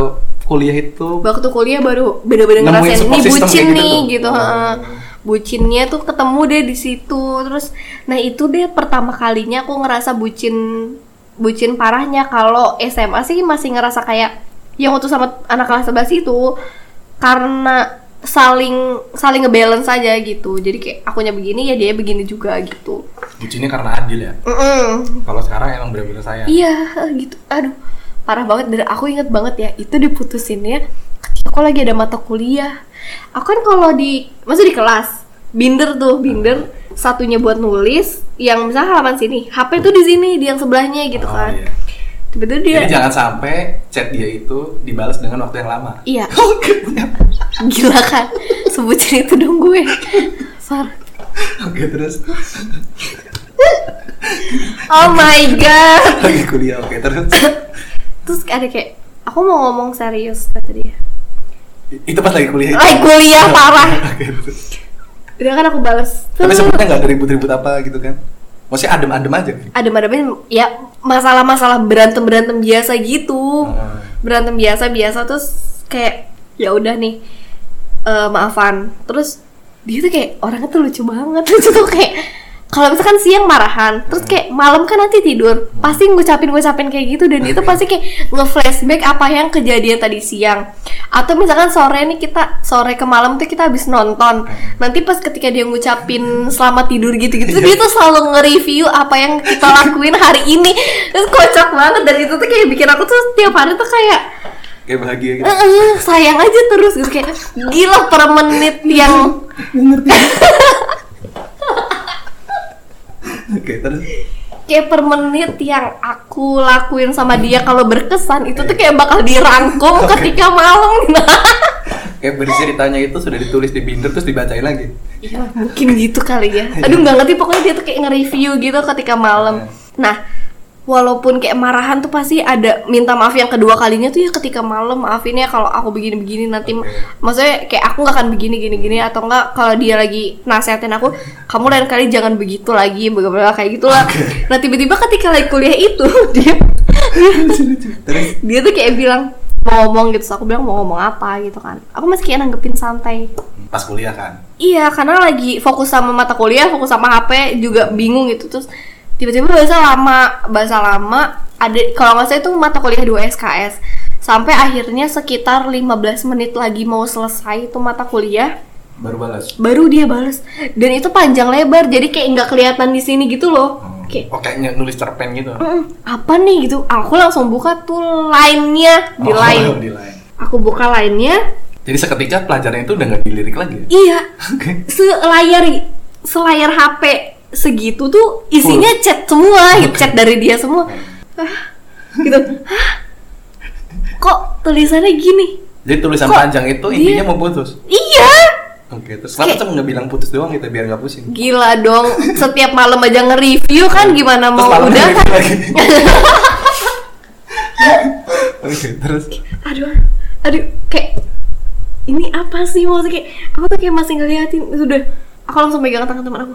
S1: kuliah itu
S2: waktu kuliah baru bener-bener
S1: Nemuin
S2: ngerasain
S1: support
S2: ini
S1: system
S2: bucin
S1: kayak gitu
S2: nih
S1: tuh.
S2: gitu,
S1: Oh.
S2: heeh. bucinnya tuh ketemu deh di situ terus nah itu deh pertama kalinya aku ngerasa bucin bucin parahnya kalau SMA sih masih ngerasa kayak yang waktu sama anak kelas 11 itu karena saling saling ngebalance aja gitu jadi kayak akunya begini ya dia begini juga gitu
S1: bucinnya karena adil ya.
S2: Mm-mm.
S1: Kalau sekarang emang bener-bener saya.
S2: Iya gitu. Aduh parah banget dan aku inget banget ya itu diputusinnya ketika aku lagi ada mata kuliah. Aku kan kalau di masuk di kelas binder tuh binder satunya buat nulis yang misalnya halaman sini HP tuh di sini di yang sebelahnya gitu
S1: Oh,
S2: kan. Iya.
S1: iya.
S2: Tiba-tiba dia
S1: Jadi jangan sampai chat dia itu dibalas dengan waktu yang lama.
S2: iya gila kan sebutin itu dong gue. Far.
S1: Oke terus
S2: Oh my god.
S1: lagi kuliah oke terus
S2: Terus ada kayak aku mau ngomong serius kata dia.
S1: itu pas lagi kuliah.
S2: Lagi kuliah parah.
S1: Oke, terus.
S2: Udah kan aku balas.
S1: Tapi sebenarnya nggak ada ribut-ribut apa gitu kan? Maksudnya adem-adem aja. kan?
S2: ada madamnya ya masalah-masalah berantem berantem biasa gitu
S1: Heeh.
S2: berantem biasa biasa terus kayak ya udah nih eh, maafan terus dia tuh kayak orangnya tuh lucu banget lucu tuh kayak kalau misalkan siang marahan terus kayak malam kan nanti tidur pasti ngucapin ngucapin kayak gitu dan itu pasti kayak nge-flashback apa yang kejadian tadi siang atau misalkan sore nih kita sore ke malam tuh kita habis nonton nanti pas ketika dia ngucapin selamat tidur gitu-gitu dia tuh selalu nge-review apa yang kita lakuin hari ini terus kocak banget dan itu tuh kayak bikin aku tuh tiap hari tuh kayak
S1: Kayak bahagia gitu.
S2: Eh, eh, sayang aja terus gitu kayak gila per menit yang
S1: Oke, terus
S2: kayak per menit yang aku lakuin sama dia kalau berkesan itu tuh kayak bakal dirangkum ketika malam nah
S1: kayak berceritanya itu sudah ditulis di binder terus dibacain lagi.
S2: ya mungkin gitu kali ya aduh nggak ngerti pokoknya dia tuh kayak nge-review gitu ketika malam nah walaupun kayak marahan tuh pasti ada minta maaf yang kedua kalinya tuh ya ketika malam maafin ya kalau aku begini-begini nanti
S1: Oke.
S2: maksudnya kayak aku nggak akan begini gini gini atau enggak kalau dia lagi nasehatin aku kamu lain kali jangan begitu lagi bagaimana kayak gitulah nah tiba-tiba ketika lagi kuliah itu dia Iya.
S1: Terus
S2: dia tuh kayak bilang mau ngomong gitu Terus aku bilang mau ngomong apa gitu kan aku masih kayak nanggepin santai
S1: pas kuliah kan.
S2: Iya, karena lagi fokus sama mata kuliah, fokus sama HP juga bingung gitu terus tiba-tiba bahasa lama, bahasa lama ada kalau nggak salah itu mata kuliah 2 SKS. Sampai akhirnya sekitar 15 menit lagi mau selesai itu mata kuliah,
S1: Baru balas.
S2: baru dia bales. Dan itu panjang lebar, jadi kayak nggak kelihatan di sini gitu loh. Kayak
S1: Oh, kayaknya nulis cerpen gitu.
S2: "Mm, apa nih gitu? Aku langsung buka tuh lainnya di
S1: Oh,
S2: line.
S1: di line.
S2: Aku buka lainnya,
S1: Jadi seketika pelajaran itu udah nggak dilirik lagi. ya?
S2: iya
S1: Oke.
S2: selayar selayar HP segitu tuh isinya chat semua, gitu, chat dari dia semua. Ah, gitu. Hah? Kok tulisannya gini?
S1: Jadi tulisan
S2: Kok
S1: panjang itu
S2: dia-
S1: intinya mau putus.
S2: Iya,
S1: Oke, terus kenapa
S2: Kayak-
S1: cuma nggak bilang putus doang gitu biar nggak pusing?
S2: gila dong. Setiap malam aja nge-review kan gimana mau
S1: malamnya
S2: udah
S1: review
S2: kan.
S1: lagi. Oke, terus
S2: Aduh, aduh kayak ini apa sih maksudnya kayak aku tuh kayak masih ngeliatin sudah aku langsung pegang tangan teman aku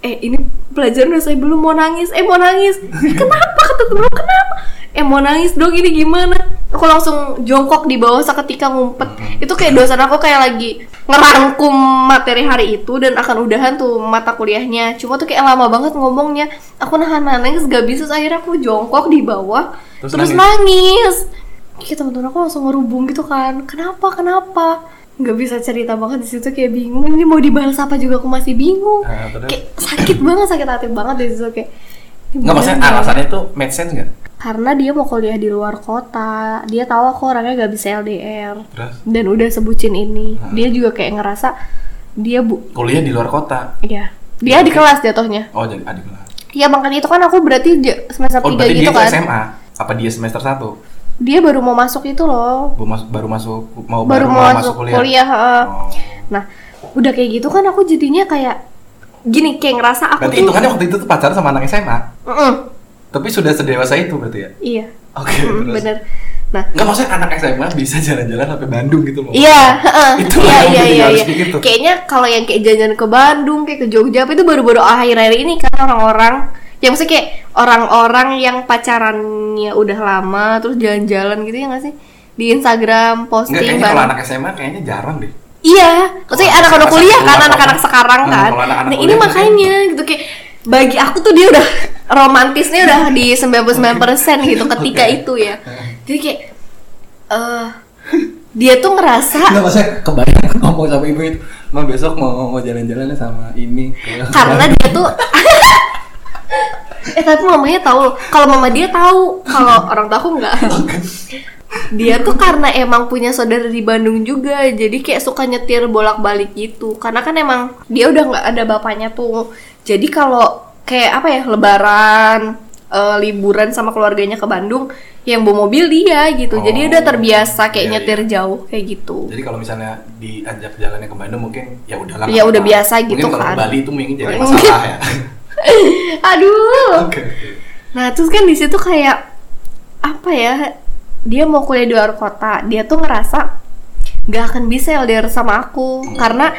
S2: eh ini pelajaran udah saya belum mau nangis eh mau nangis Eh, kenapa kata temen aku, kenapa eh mau nangis dong ini gimana aku langsung jongkok di bawah seketika ngumpet itu kayak dosen aku kayak lagi ngerangkum materi hari itu dan akan udahan tuh mata kuliahnya cuma tuh kayak lama banget ngomongnya aku nahan nahan nangis gak bisa terus akhirnya aku jongkok di bawah
S1: Terus
S2: terus, nangis. Kayak teman-teman aku langsung ngerubung gitu kan. Kenapa? Kenapa? Nggak bisa cerita banget di situ kayak bingung. Ini mau dibahas apa juga aku masih bingung.
S1: Ah, terus?
S2: kayak sakit banget, sakit hati banget di situ kayak. ini
S1: Nggak
S2: beneran
S1: maksudnya
S2: nggak ya?
S1: alasannya tuh make sense nggak?
S2: Karena dia mau kuliah di luar kota, dia tahu aku orangnya nggak bisa LDR
S1: Terus
S2: dan udah sebutin ini.
S1: Hmm.
S2: Dia juga kayak ngerasa dia bu,
S1: kuliah di luar kota.
S2: ya dia di kelas jatuhnya.
S1: Oh jadi adik lah.
S2: Iya makanya itu kan aku berarti di semester 3
S1: Oh berarti
S2: gitu
S1: dia tuh
S2: kan.
S1: SMA? Apa dia semester 1?
S2: Dia baru mau masuk itu loh.
S1: Baru masuk, Oh, baru masuk mau
S2: baru, mau masuk kuliah. heeh.
S1: Oh.
S2: Nah, udah kayak gitu kan aku jadinya kayak gini kayak ngerasa aku
S1: Berarti
S2: tuh
S1: hitungannya waktu itu tuh pacaran sama anak SMA,
S2: Mm-mm,
S1: tapi sudah sedewasa itu berarti ya?
S2: Iya.
S1: Oke,
S2: Mm,
S1: terus.
S2: bener. Nah,
S1: Enggak maksudnya anak SMA bisa jalan-jalan sampai Bandung gitu loh.
S2: Iya, heeh.
S1: Itu
S2: iya,
S1: yang
S2: iya,
S1: jadi
S2: iya,
S1: harus
S2: iya.
S1: gitu. begitu.
S2: Kayaknya kalau yang kayak jajan ke Bandung, kayak ke Jogja, apa itu baru-baru akhir-akhir ini kan orang-orang yang maksudnya kayak orang-orang yang pacarannya udah lama terus jalan-jalan gitu ya nggak sih di Instagram
S1: Enggak
S2: posting
S1: kayaknya kalau
S2: bareng.
S1: anak SMA kayaknya jarang deh.
S2: Iya, maksudnya
S1: Kalau
S2: anak-anak
S1: anak-anak
S2: kuliah kan
S1: sekolah,
S2: anak-anak
S1: kalau-
S2: sekarang
S1: Hmm,
S2: kan.
S1: iya, kalau anak-anak
S2: Nah, ini
S1: kuliah
S2: makanya gitu kayak bagi aku tuh dia udah romantisnya udah di 99% gitu ketika
S1: Oke.
S2: itu ya. Jadi kayak eh dia tuh ngerasa
S1: Enggak maksudnya kebayang ngomong sama ibu itu, "Ma besok mau mau jalan-jalan sama ini."
S2: karena dia tuh eh tapi mamanya tahu kalau mama dia tahu kalau orang tua aku nggak dia tuh karena emang punya saudara di Bandung juga jadi kayak suka nyetir bolak balik gitu karena kan emang dia udah nggak ada bapaknya tuh jadi kalau kayak apa ya lebaran eh, liburan sama keluarganya ke Bandung yang bawa mobil dia gitu jadi
S1: Oh.
S2: dia udah terbiasa kayak
S1: Iya,
S2: nyetir jauh kayak gitu
S1: Jadi kalau misalnya diajak jalannya ke Bandung mungkin ya udahlah.
S2: Ya,
S1: nggak
S2: udah
S1: apa-apa.
S2: biasa gitu
S1: mungkin
S2: kan.
S1: Kalau ke Bali itu mungkin jadi
S2: Mungkin.
S1: masalah ya.
S2: aduh
S1: Oke.
S2: Nah, terus kan di situ kayak apa ya? Dia mau kuliah di luar kota. Dia tuh ngerasa nggak akan bisa LDR sama aku karena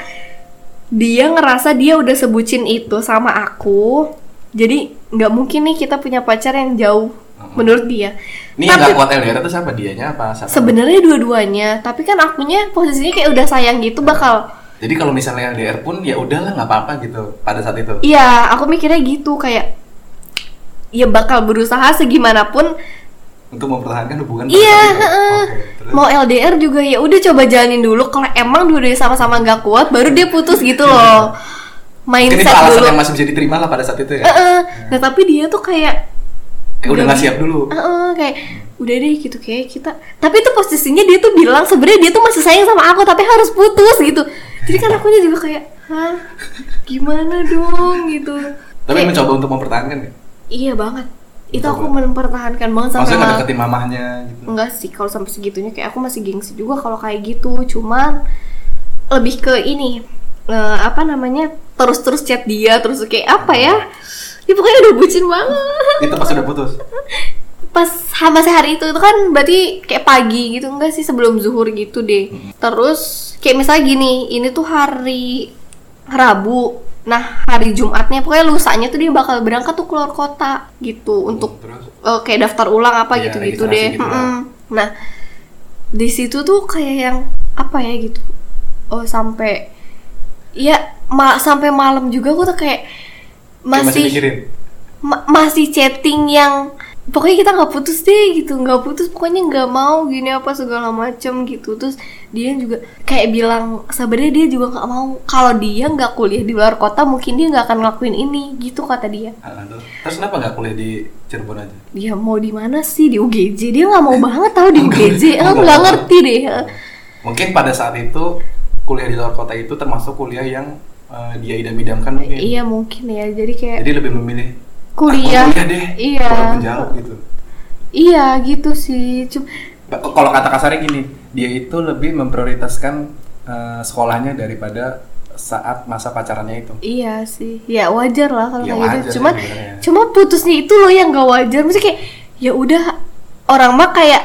S2: dia ngerasa dia udah sebucin itu sama aku. Jadi nggak mungkin nih kita punya pacar yang jauh menurut dia.
S1: Ini yang nggak kuat LDR itu siapa dianya apa? Siapa?
S2: sebenarnya dua-duanya, tapi kan akunya posisinya kayak udah sayang
S1: Iya.
S2: gitu bakal
S1: Jadi kalau misalnya LDR pun ya udahlah nggak apa-apa gitu pada saat itu.
S2: Iya, aku mikirnya gitu kayak ya bakal berusaha segimanapun
S1: Untuk mempertahankan hubungan. pada
S2: Iya,
S1: saat itu.
S2: heeh.
S1: Oke, terus?
S2: mau LDR juga ya udah coba jalanin dulu kalau emang dua-duanya sama-sama nggak kuat baru dia putus gitu loh
S1: Mungkin itu
S2: mindset
S1: Iya. alasan
S2: dulu
S1: yang ya? masih bisa diterima lah pada saat itu ya.
S2: Heeh. iya. nah tapi dia tuh kayak
S1: Kayak udah nggak siap dulu.
S2: "Heeh," kayak udah deh gitu kayak kita tapi itu posisinya dia tuh bilang sebenarnya dia tuh masih sayang sama aku tapi harus putus gitu jadi kan akunya juga kayak hah gimana dong gitu
S1: Tapi
S2: Kayak,
S1: mencoba untuk mempertahankan ya.
S2: iya banget itu
S1: Mencoba.
S2: aku mempertahankan banget sampai
S1: Maksudnya
S2: malah-
S1: ngedeketin mamahnya gitu.
S2: enggak sih kalau sampai segitunya kayak aku masih gengsi juga kalau kayak gitu cuman lebih ke ini eh, apa namanya terus-terus chat dia terus kayak apa ya ya pokoknya udah bucin banget
S1: Itu pas udah putus.
S2: pas sama sehari itu itu kan berarti kayak pagi gitu enggak sih sebelum zuhur gitu deh terus kayak misalnya gini ini tuh hari Rabu nah hari Jumatnya pokoknya lusanya tuh dia bakal berangkat tuh keluar kota gitu untuk
S1: terus
S2: eh, kayak daftar ulang apa
S1: Iya,
S2: gitu-gitu
S1: registrasi
S2: deh.
S1: gitu lah.
S2: Mm-mm. Nah, di situ tuh kayak yang apa ya gitu. Oh, sampai ya ma- sampai malam juga aku tuh kayak
S1: Kayak masih
S2: masih
S1: mikirin.
S2: ma- masih chatting yang pokoknya kita nggak putus deh gitu nggak putus pokoknya nggak mau gini apa segala macem gitu terus dia juga kayak bilang sebenarnya dia juga nggak mau kalau dia nggak kuliah di luar kota mungkin dia nggak akan ngelakuin ini gitu kata dia
S1: Ah, terus- Terus kenapa nggak kuliah di Cirebon aja?
S2: dia Ya, mau di mana sih di UGJ dia nggak mau banget tahu di
S1: Enggak,
S2: UGJ
S1: enggak.
S2: aku nggak ngerti deh
S1: Mungkin pada saat itu kuliah di luar kota itu termasuk kuliah yang eh, dia idam-idamkan mungkin.
S2: iya mungkin ya jadi kayak
S1: Jadi lebih memilih
S2: kuliah,
S1: "Ah, gua kuliah deh.
S2: iya
S1: Walaupun jauh gitu.
S2: iya gitu sih cuma
S1: Ba- Kalau kata kasarnya gini, dia itu lebih memprioritaskan eh, sekolahnya daripada saat masa pacarannya itu.
S2: iya sih ya wajar lah kalau
S1: Ya,
S2: kayak
S1: wajar
S2: gitu cuman
S1: sebenarnya.
S2: cuma putusnya itu loh yang nggak wajar maksudnya kayak ya udah orang mah kayak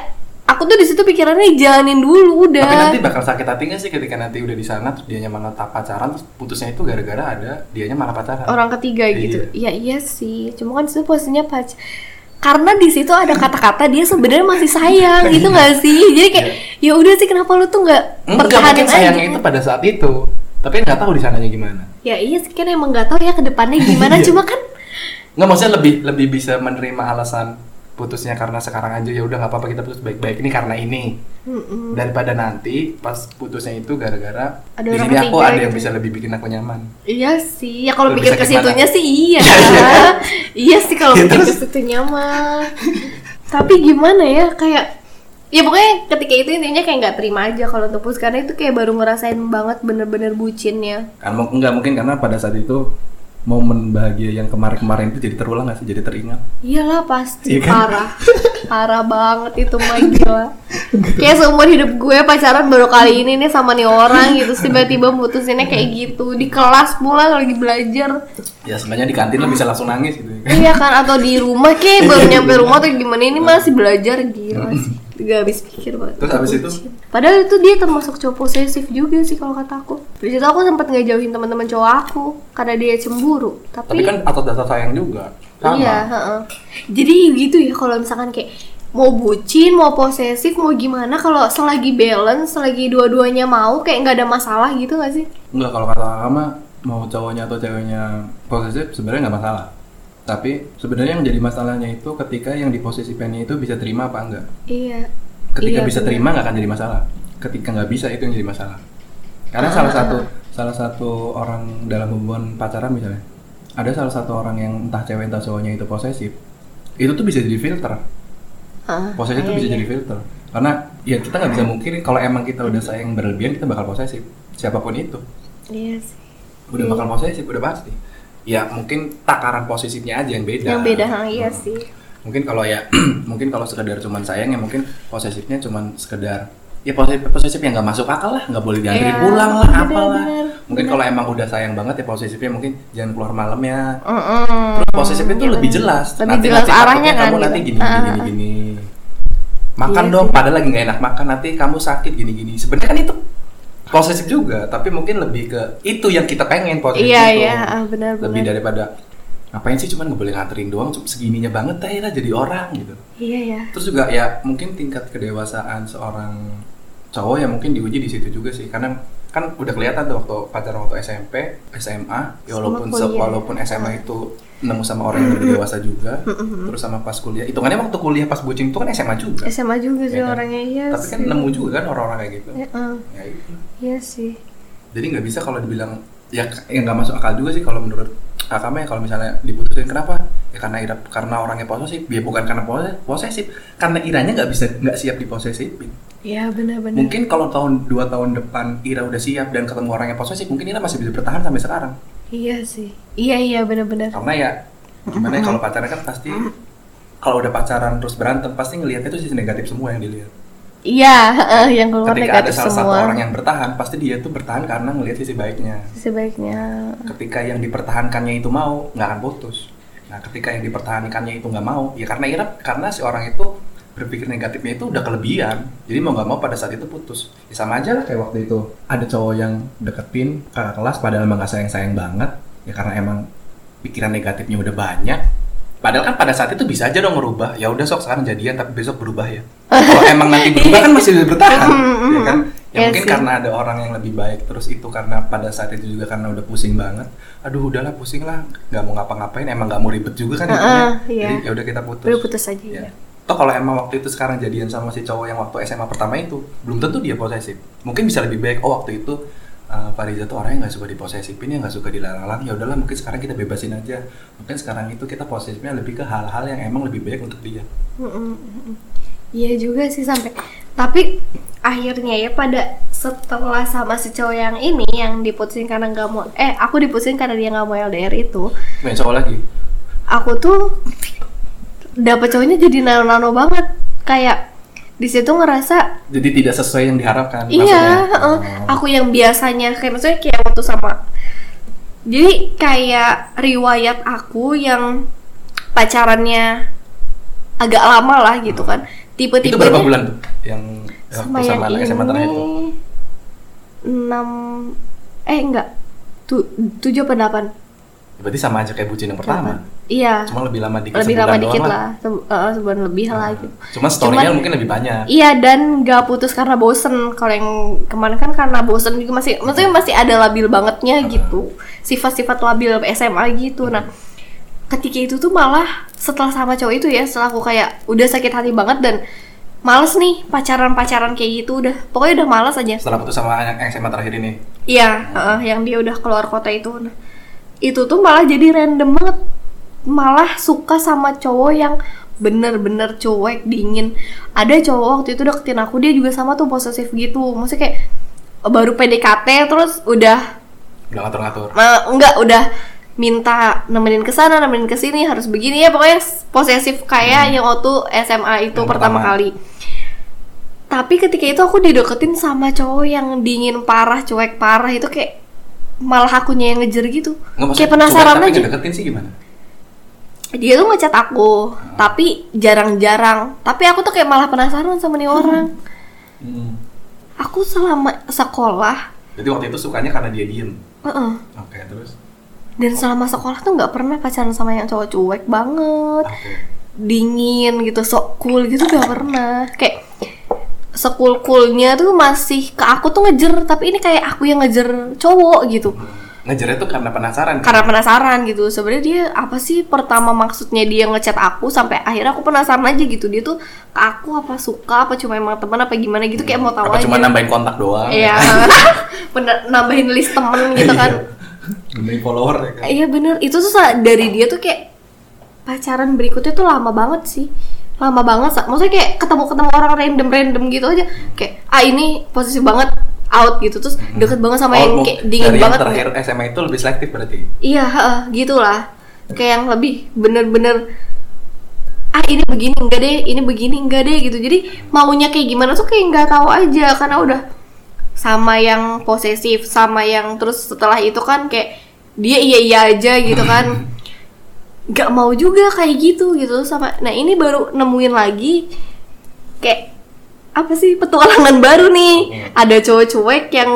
S2: aku tuh di situ pikirannya jalanin dulu udah
S1: Tapi nanti bakal sakit hati nggak sih ketika nanti udah di sana terus dianya malah tak pacaran terus putusnya itu gara-gara ada dianya malah pacaran.
S2: orang ketiga
S1: Iya.
S2: gitu. Ya iya sih. Cuma kan itu posisinya pac karena di situ ada kata-kata dia sebenarnya masih sayang gitu nggak sih? Jadi kayak ya udah sih kenapa lu tuh nggak
S1: Iya. Enggak
S2: pertahanin
S1: mungkin
S2: aja? gitu.
S1: sayangnya itu pada saat itu. Tapi nggak tahu di sananya gimana.
S2: Ya iya sih kan
S1: Iya.
S2: emang nggak tahu ya kedepannya gimana. Cuma kan
S1: Nggak maksudnya lebih lebih bisa menerima alasan putusnya karena sekarang aja ya udah nggak apa-apa kita putus baik-baik ini karena ini
S2: Mm-mm.
S1: daripada nanti pas putusnya itu gara-gara
S2: Hmm. Ada
S1: di
S2: orang
S1: sini aku
S2: ketiga
S1: ada yang
S2: gitu.
S1: bisa lebih bikin aku nyaman
S2: Iya sih, ya kalau
S1: Lu
S2: pikir
S1: bisa
S2: ke
S1: gimana?
S2: situnya sih iya. iya sih kalau
S1: Ya,
S2: pikir ke
S1: terus?
S2: situnya mah. Tapi gimana ya kayak ya pokoknya ketika itu intinya kayak nggak terima aja kalau untuk putus karena itu kayak baru ngerasain banget bener-bener bucinnya.
S1: kan mau- nggak mungkin karena pada saat itu momen bahagia yang kemarin-kemarin itu jadi terulang nggak sih jadi teringat
S2: Iyalah pasti
S1: Iya kan?
S2: parah. parah banget itu mah gila. Kayak seumur hidup gue pacaran baru kali ini nih sama nih orang gitu Terus tiba-tiba mutusinnya kayak gitu di kelas pula lagi belajar
S1: ya sebenarnya di kantin lo bisa langsung nangis gitu ya.
S2: Iya kan atau di rumah kayak baru nyampe rumah tuh gimana ini masih belajar gila sih. Gak habis pikir banget.
S1: Terus habis itu?
S2: Padahal itu dia termasuk cowok posesif juga sih kalau kata aku. Di situ aku sempat ngejauhin teman-teman cowok aku karena dia cemburu.
S1: tapi
S2: Tapi,
S1: kan atas dasar sayang juga sama
S2: iya, heeh. Jadi gitu ya kalau misalkan kayak mau bucin, mau posesif, mau gimana kalau selagi balance, selagi dua-duanya mau kayak nggak ada masalah gitu gak sih?
S1: Enggak, kalau kata agama mau cowoknya atau ceweknya posesif sebenarnya nggak masalah. Tapi sebenarnya yang jadi masalahnya itu ketika yang di posisipannya itu bisa terima apa enggak.
S2: Iya.
S1: Ketika
S2: Iya,
S1: bisa
S2: bener.
S1: terima nggak akan jadi masalah. Ketika nggak bisa itu yang jadi masalah. Karena
S2: Ah,
S1: salah satu salah satu orang dalam hubungan pacaran misalnya ada salah satu orang yang entah cewek entah cowoknya itu posesif itu tuh bisa jadi filter
S2: Heeh.
S1: posesif
S2: Ah,
S1: itu
S2: Iya,
S1: bisa
S2: iya.
S1: jadi filter karena ya kita nggak bisa mungkin kalau emang kita udah sayang berlebihan kita bakal posesif siapapun itu
S2: Iya sih.
S1: udah bakal posesif udah pasti ya mungkin takaran posesifnya aja yang beda
S2: Yang beda, ha, iya
S1: Hmm.
S2: sih.
S1: mungkin kalau ya mungkin kalau sekedar cuman sayang ya mungkin posesifnya cuman sekedar ya posesif, posesif yang nggak masuk akal lah nggak boleh dianterin
S2: Iya,
S1: pulang lah
S2: bener,
S1: apalah
S2: bener,
S1: mungkin
S2: bener.
S1: kalau emang udah sayang banget ya posesifnya mungin jangan keluar malam ya
S2: Mm-mm.
S1: terus posesifnya tuh
S2: Gitu.
S1: lebih jelas
S2: Lebih jelas
S1: takutnya
S2: arahnya kan,
S1: kamu
S2: gitu.
S1: nanti gini
S2: Ah,
S1: gini
S2: ah.
S1: gini gini makan
S2: Iya
S1: dong padahal lagi nggak enak makan nanti kamu sakit gini gini sebenarnya kan itu posesif juga tapi mungkin lebih ke itu yang kita pengen posesif
S2: Iya
S1: itu
S2: iya ah, benar
S1: lebih
S2: benar.
S1: daripada ngapain sih cuman nggak boleh nganterin doang cuma segininya banget akhirnya jadi orang gitu
S2: Iya ya.
S1: terus juga ya mungkin tingkat kedewasaan seorang cowok ya mungkin diuji di situ juga sih karena kan udah kelihatan tuh waktu pacaran waktu SMP SMA ya walaupun
S2: Sama kuliah.
S1: walaupun SMA itu nemu sama orang yang lebih dewasa juga terus sama pas kuliah hitungannya waktu kuliah pas bucin itu kan SMA juga
S2: SMA juga sih
S1: ya kan?
S2: orangnya iya
S1: tapi kan
S2: sih.
S1: nemu juga kan orang-orang kayak gitu
S2: Ya, eh,
S1: Ya itu.
S2: iya sih.
S1: jadi nggak bisa kalau dibilang ya yang nggak masuk akal juga sih kalau menurut akamnya kalau misalnya diputusin kenapa ya karena ira- karena orangnya posesif ya bukan karena pose- posesif karena iranya nggak bisa nggak siap diposesifin
S2: Iya benar-benar.
S1: mungkin kalau tahun dua tahun depan ira udah siap dan ketemu orang yang posesif mungkin ira masih bisa bertahan sampai sekarang
S2: Iya sih. Iya iya benar-benar.
S1: karena ya gimana ya kalau pacaran kan pasti kalau udah pacaran terus berantem pasti ngelihatnya itu sisi negatif semua yang dilihat
S2: Iya eh, yang keluar
S1: ketika ada
S2: negatif
S1: salah satu
S2: semua.
S1: orang yang bertahan pasti dia tuh bertahan karena ngelihat sisi baiknya
S2: Sebaiknya.
S1: ketika yang dipertahankannya itu mau nggak akan putus nah ketika yang dipertahankannya itu nggak mau ya karena Ira karena si orang itu berpikir negatifnya itu udah kelebihan jadi mau nggak mau pada saat itu putus ya sama aja lah kayak waktu itu ada cowok yang deketin kakak kelas padahal emang gak sayang sayang banget ya karena emang pikiran negatifnya udah banyak padahal kan pada saat itu bisa aja dong merubah ya udah sok sekarang jadian tapi besok berubah ya kalau emang nanti berubah kan masih bertahan ya kan ya
S2: Iya
S1: mungkin
S2: sih.
S1: karena karena ada orang yang lebih baik terus itu karena pada saat itu juga karena udah pusing banget aduh udahlah pusing lah nggak mau ngapa-ngapain emang nggak mau ribet juga kan
S2: Heeh,
S1: hidupnya.
S2: iya.
S1: jadi ya udah kita putus
S2: Udah putus aja
S1: ya
S2: ya.
S1: toh kalau emang waktu itu sekarang jadian sama si cowok yang waktu SMA pertama itu belum tentu dia posesif mungkin bisa lebih baik oh waktu itu eh, Fariza tuh orang yang nggak suka diposesifin ya nggak suka dilarang-larang ya udahlah mungkin sekarang kita bebasin aja mungkin sekarang itu kita posesifnya lebih ke hal-hal yang emang lebih baik untuk dia
S2: Mm-mm, mm-mm. Iya juga sih sampai. Tapi akhirnya ya pada setelah sama si cowok yang ini yang diputusin karena nggak mau eh aku diputusin karena dia nggak mau LDR itu
S1: main cowok lagi
S2: aku tuh dapet cowoknya jadi nano-nano banget kayak di situ ngerasa
S1: jadi tidak sesuai yang diharapkan
S2: iya
S1: maksudnya.
S2: eh,
S1: Oh.
S2: aku yang biasanya kayak maksudnya kayak waktu sama jadi kayak riwayat aku yang pacarannya agak lama lah gitu kan
S1: itu
S2: tipe-tipe
S1: berapa bulan tuh yang eh, yang
S2: ya? sama ya, iya.
S1: waktu
S2: yang ini
S1: sama anak SMA terakhir tuh?
S2: 6 eh enggak tu, 7 apa 8
S1: Berarti sama aja kayak bucin yang pertama.
S2: iya
S1: Cuma lebih lama dikit.
S2: lebih
S1: sebulan
S2: lama
S1: doang Ah.
S2: dikit lah, Se- eh, sebulan lebih lah gitu
S1: Cuma story-nya
S2: Cuman-
S1: mungkin lebih banyak.
S2: Iya dan nggak putus karena bosen Kalau yang kemarin kan karena bosen juga masih
S1: Ah. Hmm.
S2: Maksudnya masih ada labil bangetnya gitu Sifat-sifat labil SMA gitu Nah ketika itu tuh malah setelah sama cowok itu ya setelah aku kayak udah sakit hati banget dan males nih pacaran-pacaran kayak gitu udah pokoknya udah males aja
S1: Setelah putus sama anak yang SMA terakhir ini.
S2: Iya, heeh, yang dia udah keluar kota itu. Nah, itu tuh malah jadi random banget. Malah suka sama cowok yang bener-bener cuek, dingin. Ada cowok waktu itu deketin aku, dia juga sama tuh posesif gitu. Maksudnya kayak baru PDKT terus udah
S1: Nggak ngatur-ngatur.
S2: ma- enggak udah minta nemenin ke sana, nemenin ke sini, harus begini ya pokoknya posesif kayak yang waktu SMA itu
S1: Hmm. Yang
S2: pertama
S1: pertama.
S2: kali. Tapi ketika itu aku dideketin sama cowok yang dingin parah, cuek parah itu kayak malah akunya yang ngejer gitu.
S1: Nggak maksudnya
S2: kayak penasaran
S1: cuek, tapi
S2: aja.
S1: ngedeketin sih gimana?
S2: Dia tuh ngechat
S1: Hmm.
S2: aku, tapi jarang-jarang. Tapi aku tuh kayak malah penasaran sama nih orang.
S1: Hmm.
S2: Aku selama sekolah,
S1: Jadi waktu itu sukanya karena dia diem.
S2: heeh.
S1: Oke, terus.
S2: dan selama sekolah tuh nggak pernah pacaran sama yang cowok cuek banget.
S1: Oke.
S2: dingin gitu sok cool gitu gak pernah kayak sekul coolnya tuh masih ke aku tuh ngejer tapi ini kayak aku yang ngejer cowok gitu
S1: Ngejarnya tuh karena penasaran.
S2: karena penasaran gitu sebenarnya dia apa sih pertama maksudnya dia ngechat aku sampai akhirnya aku penasaran aja gitu dia tuh ke aku apa suka apa cuma emang teman apa gimana gitu kayak mau tahu aja
S1: Apa cuma nambahin kontak doang?
S2: iya Bener- nambahin list temen gitu
S1: Iya.
S2: kan
S1: Nambahin follower ya kan.
S2: Iya bener, itu tuh sa- dari dia tuh kayak pacaran berikutnya tuh lama banget sih lama banget, Sa. maksudnya kayak ketemu-ketemu orang random-random gitu aja kayak, ah ini posisi banget out gitu, terus deket banget sama
S1: Oh,
S2: yang
S1: mau-
S2: kayak dingin
S1: dari
S2: banget
S1: Yang terakhir SMA itu lebih selektif berarti.
S2: iya, heeh, gitulah kayak yang lebih bener-bener ah ini begini enggak deh, ini begini enggak deh gitu jadi maunya kayak gimana tuh kayak nggak tahu aja karena udah sama yang posesif sama yang terus setelah itu kan kayak dia iya iya aja gitu kan nggak mau juga kayak gitu gitu sama nah ini baru nemuin lagi kayak apa sih petualangan baru nih ada cowok cuek yang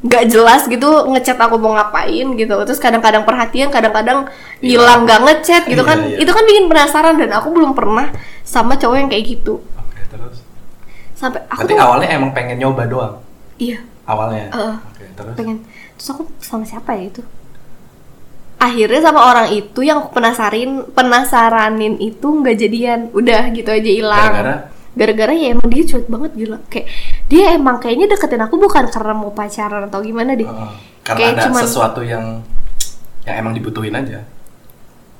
S2: nggak jelas gitu ngechat aku mau ngapain gitu terus kadang-kadang perhatian kadang-kadang hilang nggak ngechat gitu
S1: Iya,
S2: kan
S1: iya.
S2: itu kan bikin penasaran dan aku belum pernah sama cowok yang kayak gitu
S1: Oke, terus.
S2: sampai aku
S1: Berarti
S2: tuh
S1: awalnya emang pengen nyoba doang.
S2: iya
S1: Awalnya.
S2: Heeh.
S1: Oke, terus.
S2: pengen terus aku sama siapa ya itu akhirnya sama orang itu yang aku penasarin penasaranin itu nggak jadian udah gitu aja hilang
S1: Gara-gara?
S2: gara-gara ya emang dia cuek banget gila kayak dia emang kayaknya deketin aku bukan karena mau pacaran atau gimana deh
S1: Heeh. eh, Karena
S2: Kayak
S1: ada
S2: cuman-
S1: sesuatu yang yang emang dibutuhin aja.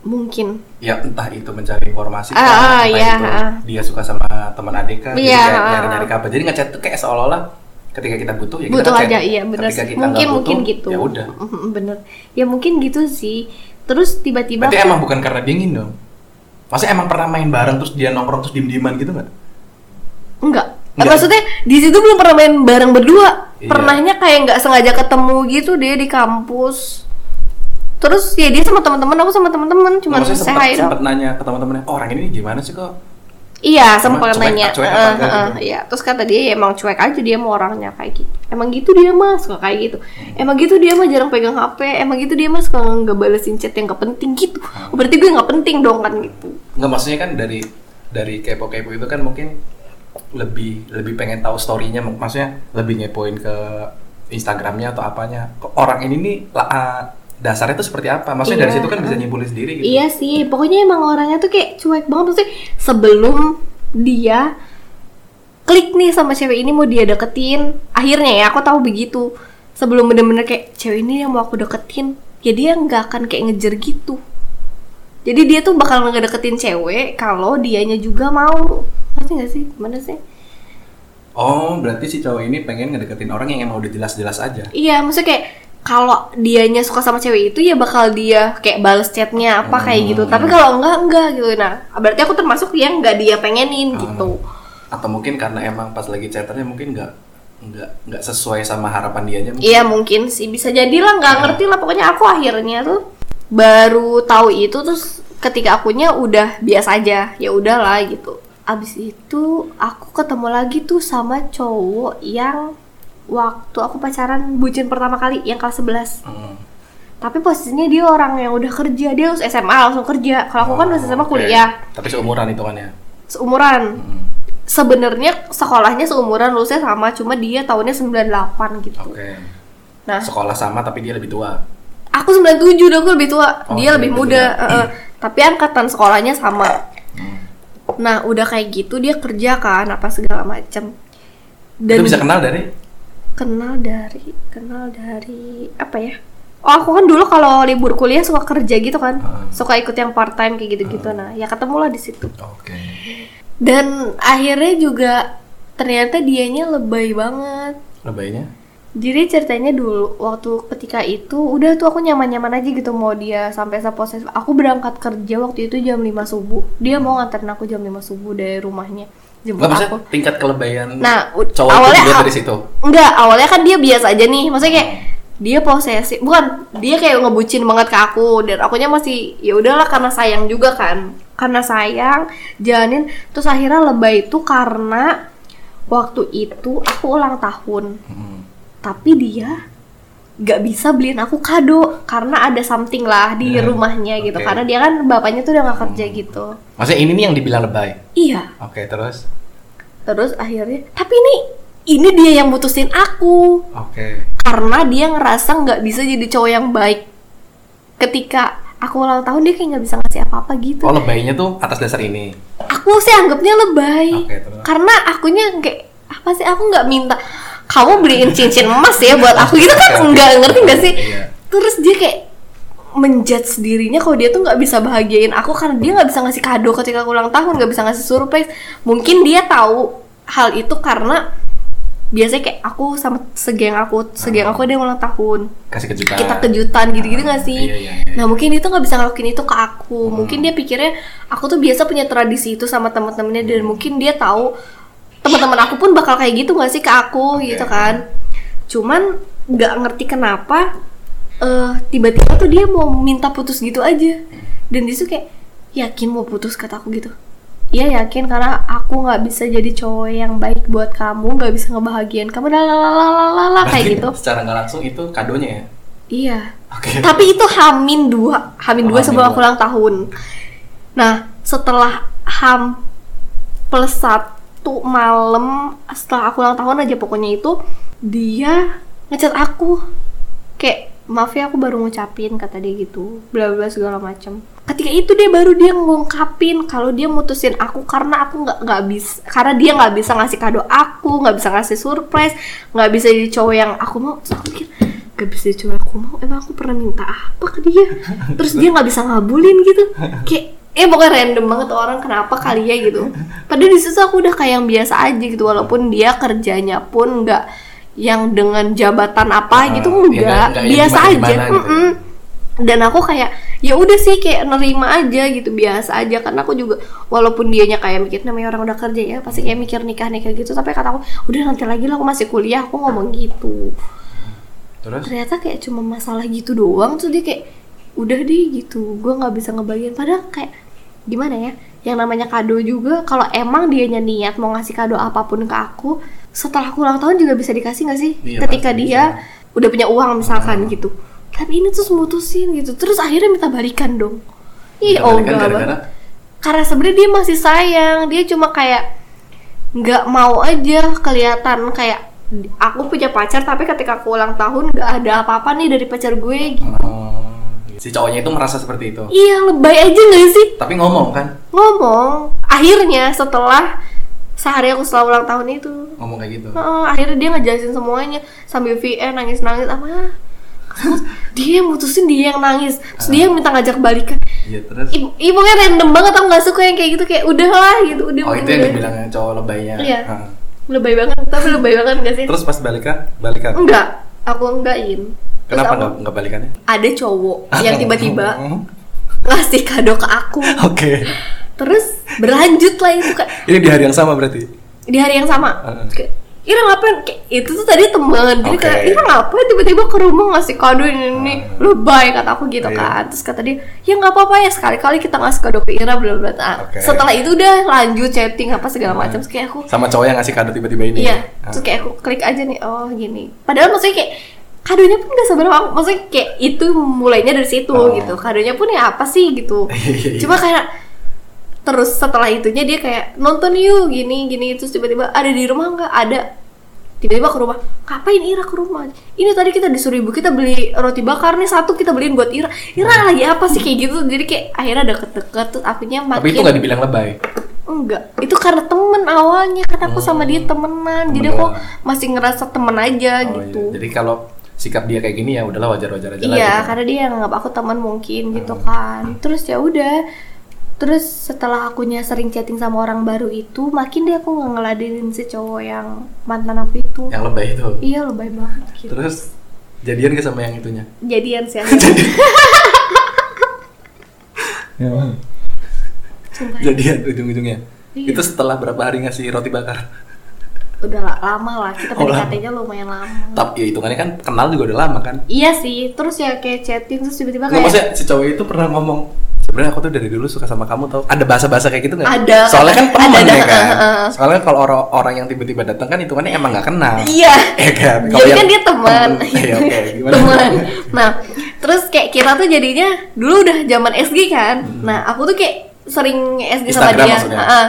S2: mungkin
S1: Ya entah itu mencari
S2: Ah,
S1: informasi, kah,
S2: ah,
S1: entah
S2: iya,
S1: itu
S2: ah.
S1: dia suka sama teman adik kan,
S2: Iya, ah.
S1: nyari nyari kabar. Jadi ngechat tuh kayak seolah-olah ketika kita butuh ya kita
S2: butuh
S1: ngechat.
S2: aja iya bener
S1: Ketika
S2: sih.
S1: kita
S2: mungkin
S1: nggak
S2: mungkin
S1: butuh,
S2: gitu
S1: Ya udah.
S2: Mm, bener ya mungkin gitu sih terus tiba-tiba
S1: Berarti emang bukan karena dingin dong. Maksudnya emang pernah main bareng terus dia nongkrong terus diem-dieman gitu nggak?
S2: Enggak.
S1: Enggak.
S2: Maksudnya di situ belum pernah main bareng berdua.
S1: Iya.
S2: Pernahnya kayak nggak sengaja ketemu gitu dia di kampus. Terus ya dia sama teman-teman, aku sama teman-teman
S1: Nah,
S2: cuma
S1: maksudnya
S2: saya
S1: sempat,
S2: hai dong.
S1: sempat nanya ke teman-temannya, oh, orang ini gimana sih kok?
S2: Iya, sempat
S1: cuek-
S2: nanya.
S1: cuek apa
S2: Heeh,
S1: enggak
S2: heeh,
S1: gitu.
S2: Iya, terus kata dia ya, emang cuek aja dia mau orangnya kayak gitu. Emang gitu dia mas suka kayak gitu.
S1: Hmm.
S2: Emang gitu dia mah jarang pegang HP. Emang gitu dia mas suka nggak balesin chat yang nggak penting gitu.
S1: Hmm.
S2: Oh, Berarti gue nggak penting dong kan gitu.
S1: Nggak maksudnya kan dari dari kepo-kepo itu kan mungkin lebih lebih pengen tahu story-nya, mak- maksudnya lebih ngepoin ke Instagramnya atau apanya. Kok orang ini nih la- ah, dasarnya itu seperti apa? Maksudnya dari
S2: Iya,
S1: situ kan
S2: heeh.
S1: bisa nyimpulin sendiri gitu.
S2: Iya sih, pokoknya emang orangnya tuh kayak cuek banget Maksudnya sebelum dia klik nih sama cewek ini mau dia deketin Akhirnya ya aku tahu begitu Sebelum bener-bener kayak cewek ini yang mau aku deketin Ya dia nggak akan kayak ngejer gitu Jadi dia tuh bakal ngedeketin cewek kalau dianya juga mau Ngerti nggak sih? Gimana sih?
S1: Oh, berarti si cowok ini pengen ngedeketin orang yang emang udah jelas-jelas aja.
S2: Iya, maksudnya kayak kalau dianya suka sama cewek itu ya bakal dia kayak bales chatnya apa kayak gitu. Tapi kalau enggak enggak gitu. Nah, berarti aku termasuk yang enggak dia pengenin gitu.
S1: Atau mungkin karena emang pas lagi chatternya mungkin nggak nggak nggak sesuai sama harapan dianya mungkin.
S2: Iya mungkin sih bisa jadi lah nggak ngerti lah pokoknya aku akhirnya tuh baru tahu itu terus ketika akunya udah biasa aja ya udahlah gitu. Abis itu aku ketemu lagi tuh sama cowok yang waktu aku pacaran bucin pertama kali yang kelas 11
S1: Hmm.
S2: tapi posisinya dia orang yang udah kerja dia harus SMA langsung kerja kalau aku kan masih SMA
S1: Oh, Oke.
S2: kuliah
S1: Tapi seumuran hitungannya.
S2: seumuran
S1: Hmm.
S2: sebenarnya sekolahnya seumuran lulusnya sama cuma dia tahunnya 98 gitu
S1: Oke.
S2: nah
S1: Sekolah sama tapi dia lebih tua.
S2: aku 97 dong aku lebih tua
S1: Oh,
S2: dia lebih
S1: iya,
S2: muda
S1: iya.
S2: eh, eh. tapi angkatan sekolahnya sama
S1: Hmm.
S2: nah udah kayak gitu dia kerja kan apa segala macem dan
S1: Itu bisa kenal dari
S2: kenal dari kenal dari apa ya oh aku kan dulu kalau libur kuliah suka kerja gitu kan
S1: Heeh.
S2: suka ikut yang part time kayak gitu
S1: Ah.
S2: gitu nah ya ketemulah di situ
S1: Oke.
S2: dan akhirnya juga ternyata dianya lebay banget
S1: Lebaynya?
S2: jadi ceritanya dulu waktu ketika itu udah tuh aku nyaman-nyaman aja gitu mau dia sampai seposesif. Aku berangkat kerja waktu itu jam 5 subuh. Dia mau nganterin aku jam 5 subuh dari rumahnya. Jemput
S1: Enggak bisa
S2: aku.
S1: tingkat kelebayan
S2: Nah, u-
S1: cowok itu
S2: awalnya
S1: dilihat
S2: a-
S1: dari situ.
S2: Enggak, awalnya kan dia biasa aja nih. Maksudnya kayak dia posesif. Bukan, dia kayak ngebucin banget ke aku dan akunya masih ya udahlah karena sayang juga kan. Karena sayang, jalanin terus akhirnya lebay itu karena waktu itu aku ulang tahun
S1: Mm.
S2: tapi dia nggak bisa beliin aku kado karena ada something lah di
S1: Ya,
S2: rumahnya gitu
S1: oke.
S2: karena dia kan bapaknya tuh udah nggak kerja gitu
S1: Maksudnya ini nih yang dibilang lebay.
S2: iya
S1: Oke, terus.
S2: terus akhirnya tapi ini ini dia yang mutusin aku
S1: Oke.
S2: karena dia ngerasa nggak bisa jadi cowok yang baik ketika aku ulang tahun dia kayak nggak bisa ngasih apa-apa gitu
S1: Oh, lebaynya tuh atas dasar ini.
S2: aku sih anggapnya lebay
S1: Oke, terus.
S2: karena akunya kayak apa sih aku nggak minta kamu beliin cincin emas ya buat aku gitu
S1: Oke, oke.
S2: kan nggak ngerti nggak sih
S1: Iya.
S2: terus dia kayak menjudge dirinya kalau dia tuh nggak bisa bahagiain aku karena dia nggak bisa ngasih kado ketika aku ulang tahun nggak bisa ngasih surprise mungkin dia tahu hal itu karena biasanya kayak aku sama segeng aku segeng aku ada yang ulang tahun
S1: Kasih kejutan.
S2: kita kejutan gitu-gitu nggak sih?
S1: Iya, iya, Hmm. iya.
S2: Nah mungkin dia tuh nggak bisa ngelakuin itu ke aku. Mungkin dia pikirnya aku tuh biasa punya tradisi itu sama teman-temannya
S1: Hmm.
S2: dan mungkin dia tahu teman-teman aku pun bakal kayak gitu nggak sih ke aku
S1: Oke.
S2: gitu kan? Cuman nggak ngerti kenapa eh, tiba-tiba tuh dia mau minta putus gitu aja
S1: Hmm.
S2: dan dia tuh kayak yakin mau putus kata aku gitu. Iya yakin karena aku nggak bisa jadi cowok yang baik buat kamu, nggak bisa ngebahagiain kamu, lalalalalalala
S1: Berarti
S2: kayak gitu.
S1: Secara nggak langsung itu kadonya ya.
S2: Iya.
S1: Oke.
S2: Tapi itu hamin dua, hamin
S1: Oh,
S2: dua
S1: hamin
S2: sebelum
S1: dua.
S2: aku ulang tahun. Nah, setelah ham plus satu malam setelah aku ulang tahun aja pokoknya itu dia ngechat aku kayak maaf ya aku baru ngucapin kata dia gitu bla bla segala macam ketika itu dia baru dia ngungkapin kalau dia mutusin aku karena aku nggak nggak bisa karena dia nggak bisa ngasih kado aku nggak bisa ngasih surprise nggak bisa jadi cowok yang aku mau Terus aku mikir nggak bisa jadi cowok yang aku mau emang aku pernah minta apa ke dia terus dia nggak bisa ngabulin gitu kayak eh pokoknya random banget tuh orang kenapa kali ya gitu padahal di situ aku udah kayak yang biasa aja gitu walaupun dia kerjanya pun nggak yang dengan jabatan apa
S1: Ah,
S2: gitu
S1: ya nggak-
S2: enggak
S1: nggak yang
S2: biasa aja
S1: gimana-gimana gitu.
S2: Mm-mm. dan aku kayak ya udah sih kayak nerima aja gitu biasa aja karena aku juga walaupun dianya kayak mikir namanya orang udah kerja ya pasti kayak mikir nikah nikah gitu tapi kata aku udah nanti lagi lah aku masih kuliah aku ngomong gitu
S1: Terus
S2: ternyata kayak cuma masalah gitu doang tuh dia kayak udah deh gitu gue nggak bisa ngebagiin padahal kayak gimana ya yang namanya kado juga kalau emang dianya niat mau ngasih kado apapun ke aku setelah aku ulang tahun juga bisa dikasih nggak sih
S1: Iya,
S2: ketika
S1: pasti Iya.
S2: dia udah punya uang misalkan gitu tapi ini terus mutusin gitu terus akhirnya minta balikan dong Ih,
S1: Minta
S2: oh
S1: balikan gara-gara?
S2: karena sebenarnya dia masih sayang dia cuma kayak nggak mau aja kelihatan kayak aku punya pacar tapi ketika aku ulang tahun nggak ada apa-apa nih dari pacar gue gitu.
S1: oh, si cowoknya itu merasa seperti itu.
S2: iya lebay aja nggak sih
S1: Tapi ngomong kan,
S2: ngomong akhirnya setelah sehari aku setelah ulang tahun itu
S1: ngomong kayak gitu.
S2: Heeh, akhirnya dia ngejelasin semuanya sambil VN nangis-nangis apa dia yang mutusin dia yang nangis terus dia yang minta ngajak balikan
S1: Iya terus.
S2: Ibu, ibunya random banget aku nggak suka yang kayak gitu kayak udahlah gitu udah
S1: Oh itu
S2: udah.
S1: yang dibilang yang cowok lebaynya.
S2: Iya.
S1: Ah.
S2: lebay banget tapi lebay banget gak sih
S1: Terus pas balikan, balikan.
S2: enggak aku enggakin Terus
S1: Kenapa
S2: aku-
S1: nggak nggak balikannya?
S2: ada cowok yang Eh, tiba-tiba
S1: Hmm.
S2: ngasih kado ke aku
S1: Oke.
S2: terus berlanjut lah itu kayak
S1: Ini di hari yang sama berarti.
S2: di hari yang sama
S1: Heeh.
S2: Terus kayak, Ira ngapain? Kayak, itu tuh tadi temen Jadi
S1: Oke.
S2: kayak, Ira ngapain tiba-tiba ke rumah ngasih kado ini, ini Lebay kata aku gitu
S1: Iya.
S2: kan Terus kata dia, ya nggak apa-apa ya sekali-kali kita ngasih kado ke Ira bla bla bla.
S1: Oke.
S2: Setelah itu udah lanjut chatting apa segala macam Terus kayak aku,
S1: Sama cowok yang ngasih kado tiba-tiba ini.
S2: Iya,
S1: Ah.
S2: terus kayak aku klik aja nih, oh gini. Padahal maksudnya kayak kadonya pun gak seberapa, maksudnya kayak itu mulainya dari situ
S1: Oh.
S2: gitu. Kadonya pun ya apa sih gitu.
S1: Iya, iya.
S2: Cuma kayak terus setelah itunya dia kayak nonton yuk gini gini terus tiba-tiba ada di rumah nggak ada tiba-tiba ke rumah ngapain Ira ke rumah ini tadi kita disuruh ibu kita beli roti bakar nih satu kita beliin buat Ira
S1: Nah.
S2: Ira lagi apa sih kayak gitu jadi kayak akhirnya deket-deket terus akunya makin
S1: Tapi itu nggak dibilang lebay.
S2: enggak itu karena temen awalnya karena aku sama dia temenan jadi aku
S1: doang.
S2: masih ngerasa temen aja
S1: ya. Oh, iya.
S2: gitu
S1: Jadi kalau sikap dia kayak gini ya udahlah wajar-wajar aja lah.
S2: Iya,
S1: gitu.
S2: karena dia yang nganggap aku teman mungkin gitu
S1: Hmm.
S2: kan. Terus ya udah. Terus setelah akunya sering chatting sama orang baru itu, makin dia aku nggak ngeladenin si cowok yang mantan aku itu.
S1: Yang lebay itu.
S2: Iya lebay banget gitu.
S1: Terus jadian gak sama yang itunya?
S2: Jadian sih akhirnya. Sumpah ya.
S1: Jadian ujung-ujungnya.
S2: Iya.
S1: Itu setelah berapa hari ngasih roti bakar?
S2: Udah lah, lama lah, kita
S1: Oh, lama.
S2: PDKT-nya lumayan lama.
S1: Tapi ya hitungannya kan kenal juga udah lama kan.
S2: Iya sih, terus ya kayak chatting terus tiba-tiba
S1: Nggak
S2: kayak
S1: maksudnya si cowok itu pernah ngomong sebenarnya aku tuh dari dulu suka sama kamu tau ada bahasa-bahasa kayak gitu nggak?
S2: Ada.
S1: Soalnya kan
S2: Ada,
S1: teman
S2: ada.
S1: ya kan.
S2: Heeh, heeh.
S1: Soalnya kalau orang orang yang tiba-tiba datang kan hitungannya emang nggak kenal.
S2: Iya.
S1: Ya kan.
S2: Jadi
S1: yang
S2: kan dia teman.
S1: Iya oke. Gimana?
S2: teman. Nah, terus kayak kita tuh jadinya dulu udah zaman SG kan. Nah, aku tuh kayak sering SG sama
S1: Hmm. Instagram
S2: dia.
S1: maksudnya. Hmm.
S2: Heeh.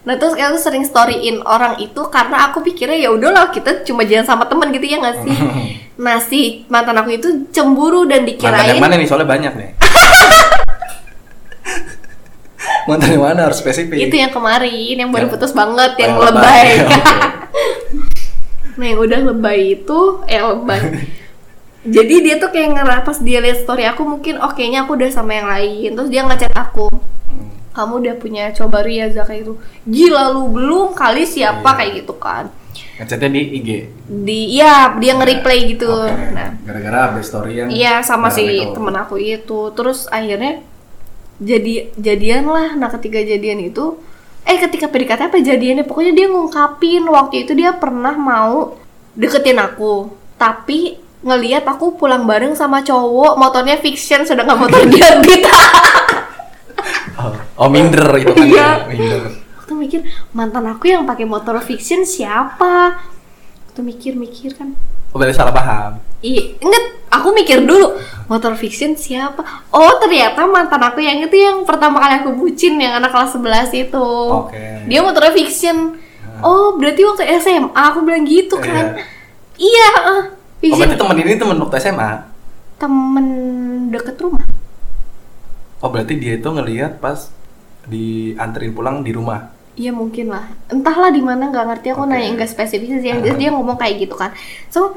S2: Nah, terus kayak aku sering storyin orang itu karena aku pikirnya ya udahlah kita cuma jalan sama teman gitu ya nggak sih? Nah, si mantan aku itu cemburu dan
S1: Mantan yang
S2: dikirain
S1: mana nih? Soalnya banyak nih. Mantan yang mana harus spesifik.
S2: itu yang kemarin yang baru
S1: Ya.
S2: putus banget yang
S1: Yang
S2: lebay.
S1: Oke.
S2: Nah yang udah lebay itu Eh lebay Jadi dia tuh kayak ngera- pas dia lihat story aku mungkin Oh kayaknya aku udah sama yang lain Terus dia ngechat aku Kamu udah punya cowok baru ya Zaka itu Gila lu belum kali siapa
S1: Iya.
S2: kayak gitu kan
S1: Ngechatnya di IG.
S2: di Iya dia nge-replay gitu
S1: Oke.
S2: Nah
S1: Gara-gara update story yang.
S2: Iya sama si
S1: barang itu.
S2: temen aku itu. Terus akhirnya jadi jadian lah. Nah ketika jadian itu, eh ketika PDKT apa jadiannya? Pokoknya dia ngungkapin waktu itu dia pernah mau deketin aku, tapi ngelihat aku pulang bareng sama cowok motornya fiction sedangkan motor dia Gitu. beat.
S1: Oh, oh, minder itu kan.
S2: Iya.
S1: Minder.
S2: aku tuh mikir mantan aku yang pakai motor fiction siapa? Aku tuh mikir-mikir kan,
S1: Oh, berarti salah paham.
S2: Iya, inget, aku mikir dulu motor fiction siapa? Oh ternyata mantan aku yang itu yang pertama kali aku bucin yang anak kelas 11 itu.
S1: Oke. Ah.
S2: Dia motornya fiction. Oh berarti waktu SMA aku bilang gitu kan?
S1: Iya.
S2: Iya, eh,
S1: Oh,
S2: fiction
S1: berarti temen ini temen waktu SMA.
S2: temen deket rumah.
S1: Oh, berarti dia itu ngelihat pas dianterin pulang di rumah.
S2: Iya mungkin lah, entahlah di mana nggak ngerti aku
S1: Oke.
S2: nanya nggak spesifik sih, yang jelas dia ngomong kayak gitu kan. So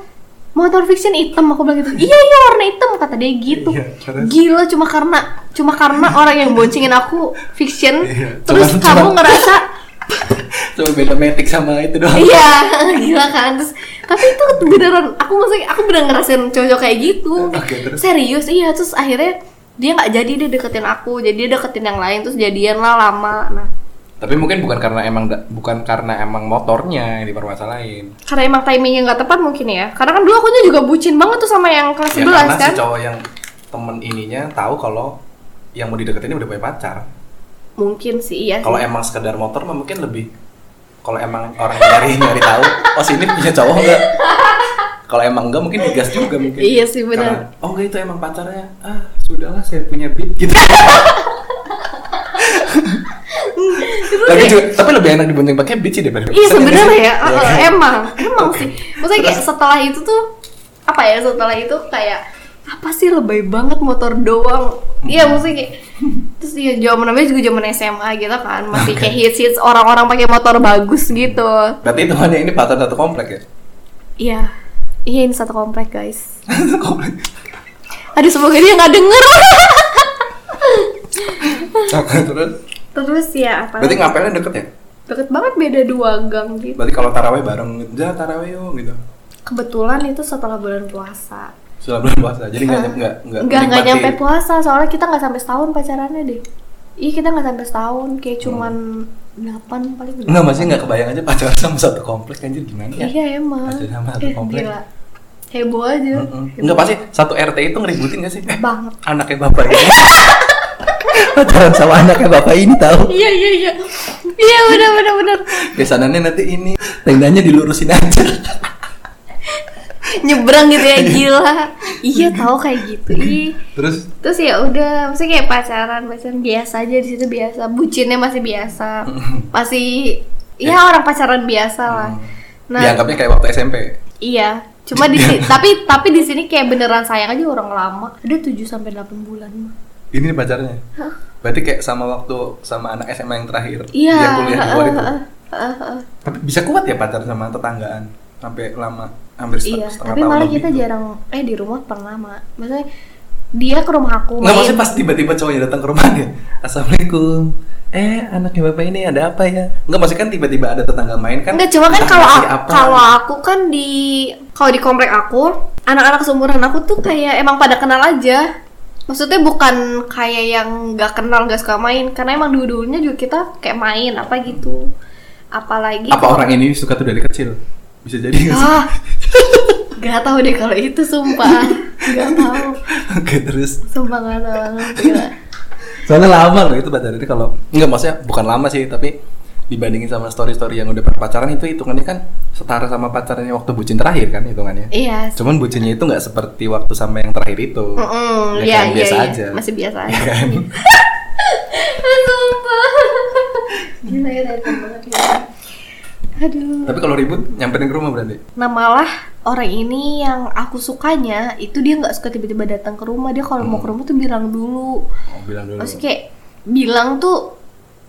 S2: motor fiction hitam aku bilang gitu. Iya iya warna hitam kata dia gitu.
S1: Iya, terus?
S2: Gila cuma karena cuma karena orang yang boncengin aku fiction,
S1: Iya,
S2: terus
S1: cuman-
S2: kamu
S1: cuman-
S2: ngerasa
S1: Cuma beda metik sama itu doang.
S2: iya gila kan terus tapi itu beneran aku maksudnya aku bener ngerasain cowok kayak gitu
S1: Oke, terus?
S2: serius iya terus akhirnya dia nggak jadi dia deketin aku jadi dia deketin yang lain terus jadian lah lama nah
S1: Tapi mungkin bukan karena emang da- bukan karena emang motornya yang dipermasalahin.
S2: karena emang timingnya nggak tepat mungkin ya karena kan dulu aku juga bucin banget tuh sama yang kelas 11
S1: Ya, karena
S2: kan
S1: si cowok yang temen ininya tahu kalau yang mau dideketin ini udah punya pacar.
S2: mungkin sih iya sih.
S1: Kalau emang sekedar motor mah mungkin lebih. Kalau emang orang yang nyari nyari tahu, oh sini punya cowok enggak? Kalau emang enggak mungkin digas juga mungkin.
S2: Iya sih, benar.
S1: Karena, oh enggak itu emang pacarnya. Ah, sudahlah saya punya beat gitu.
S2: Iya.
S1: tapi, juga, tapi lebih enak dibonceng pakai beat sih daripada
S2: Iya
S1: pacar, ya
S2: sebenarnya ya,
S1: sih? Iya
S2: eh,
S1: kan?
S2: emang, emang sih. Maksudnya kayak setelah itu tuh apa ya? Setelah itu kayak apa sih lebay banget motor doang.
S1: Hmm.
S2: Iya maksudnya kayak terus ya zaman namanya juga zaman SMA gitu kan, masih kayak hits hits orang-orang pakai motor bagus gitu.
S1: Berarti itu hanya ini pacar satu komplek ya?
S2: Iya, iya ini satu komplek guys.
S1: Satu komplek.
S2: Aduh semoga dia nggak denger.
S1: Terus,
S2: terus ya apa?
S1: berarti
S2: lagi?
S1: ngapelnya deket ya?
S2: Deket banget beda dua gang gitu.
S1: Berarti kalau taraweh bareng, ja taraweh yuk gitu.
S2: Kebetulan itu setelah bulan puasa.
S1: Setelah bulan puasa, jadi nggak nyampe nggak nggak
S2: nggak nggak
S1: menikmati-
S2: nyampe puasa soalnya kita nggak sampai setahun pacarannya deh iya kita nggak sampai setahun kayak cuman delapan paling
S1: Enggak, masih nggak kebayang aja pacaran sama satu komplek anjir gimana Hmm, ya?
S2: iya emang
S1: Pacaran sama satu
S2: Eh,
S1: komplek. Hmm,
S2: gila heboh aja
S1: Mm-mm. Enggak pasti satu RT itu ngeributin gak sih? Eh,
S2: banget
S1: anaknya bapak ini. pacaran sama anaknya bapak ini tahu.
S2: iya iya iya iya benar benar benar
S1: Besanannya nanti ini, tendanya dilurusin aja.
S2: nyebrang gitu ya gila iya tahu kayak gitu iya
S1: Terus
S2: terus ya udah maksudnya kayak pacaran pacaran biasa aja di situ
S1: Eh. Hmm.
S2: biasa bucinnya masih biasa masih ya orang pacaran biasa lah Nah.
S1: Dianggapnya kayak waktu SMP.
S2: Iya, cuma di si- tapi tapi di sini kayak beneran sayang aja orang lama. Ada 7 sampai 8 bulan mah.
S1: Ini pacarnya.
S2: Hah?
S1: Berarti kayak sama waktu sama anak SMA yang terakhir.
S2: Iya.
S1: Yang kuliah di luar itu.
S2: heeh, heeh, heeh.
S1: Tapi bisa kuat ya pacar sama tetanggaan sampai lama hampir set-
S2: Iya,
S1: setengah
S2: tapi
S1: tahun
S2: malah
S1: lebih gitu.
S2: kita
S1: itu.
S2: jarang eh di rumah pernah lama. Maksudnya dia ke rumah aku
S1: Nggak maksudnya pas tiba-tiba cowoknya datang ke rumah dia Assalamualaikum Eh anaknya bapak ini ada apa ya Nggak maksudnya kan tiba-tiba ada tetangga main kan
S2: Enggak, cuma kan
S1: entah
S2: kalau aku,
S1: ngasih apa.
S2: kalau aku kan di kalau di komplek aku, anak-anak seumuran aku tuh kayak emang pada kenal aja. Maksudnya bukan kayak yang nggak kenal gak suka main, karena emang dulu-dulunya juga kita kayak main apa gitu. Apalagi
S1: Apa orang ini suka tuh dari kecil Bisa jadi nggak sih?
S2: ah, gak tahu deh kalau itu sumpah, gak tahu,
S1: Oke terus
S2: sumpah gak tahu banget, gila.
S1: Soalnya lama loh itu pacaran itu kalau Enggak maksudnya bukan lama sih tapi Dibandingin sama story-story yang udah pernah pacaran itu hitungannya kan Setara sama pacarnya waktu bucin terakhir kan hitungannya
S2: Iya.
S1: Cuman bucinnya itu nggak seperti waktu sama yang terakhir itu
S2: Mm-mm,
S1: Ya
S2: iya,
S1: kan,
S2: iya,
S1: biasa
S2: iya.
S1: aja
S2: Masih biasa aja.
S1: Ya kan?
S2: Sumpah. Gila ya, random banget ya. Aduh.
S1: Tapi kalau ribut nyamperin ke rumah berarti
S2: Nah malah orang ini yang aku sukanya itu dia nggak suka tiba-tiba datang ke rumah dia kalau mau
S1: Hmm.
S2: ke rumah tuh bilang dulu
S1: Oh, bilang dulu
S2: maksudnya kayak bilang tuh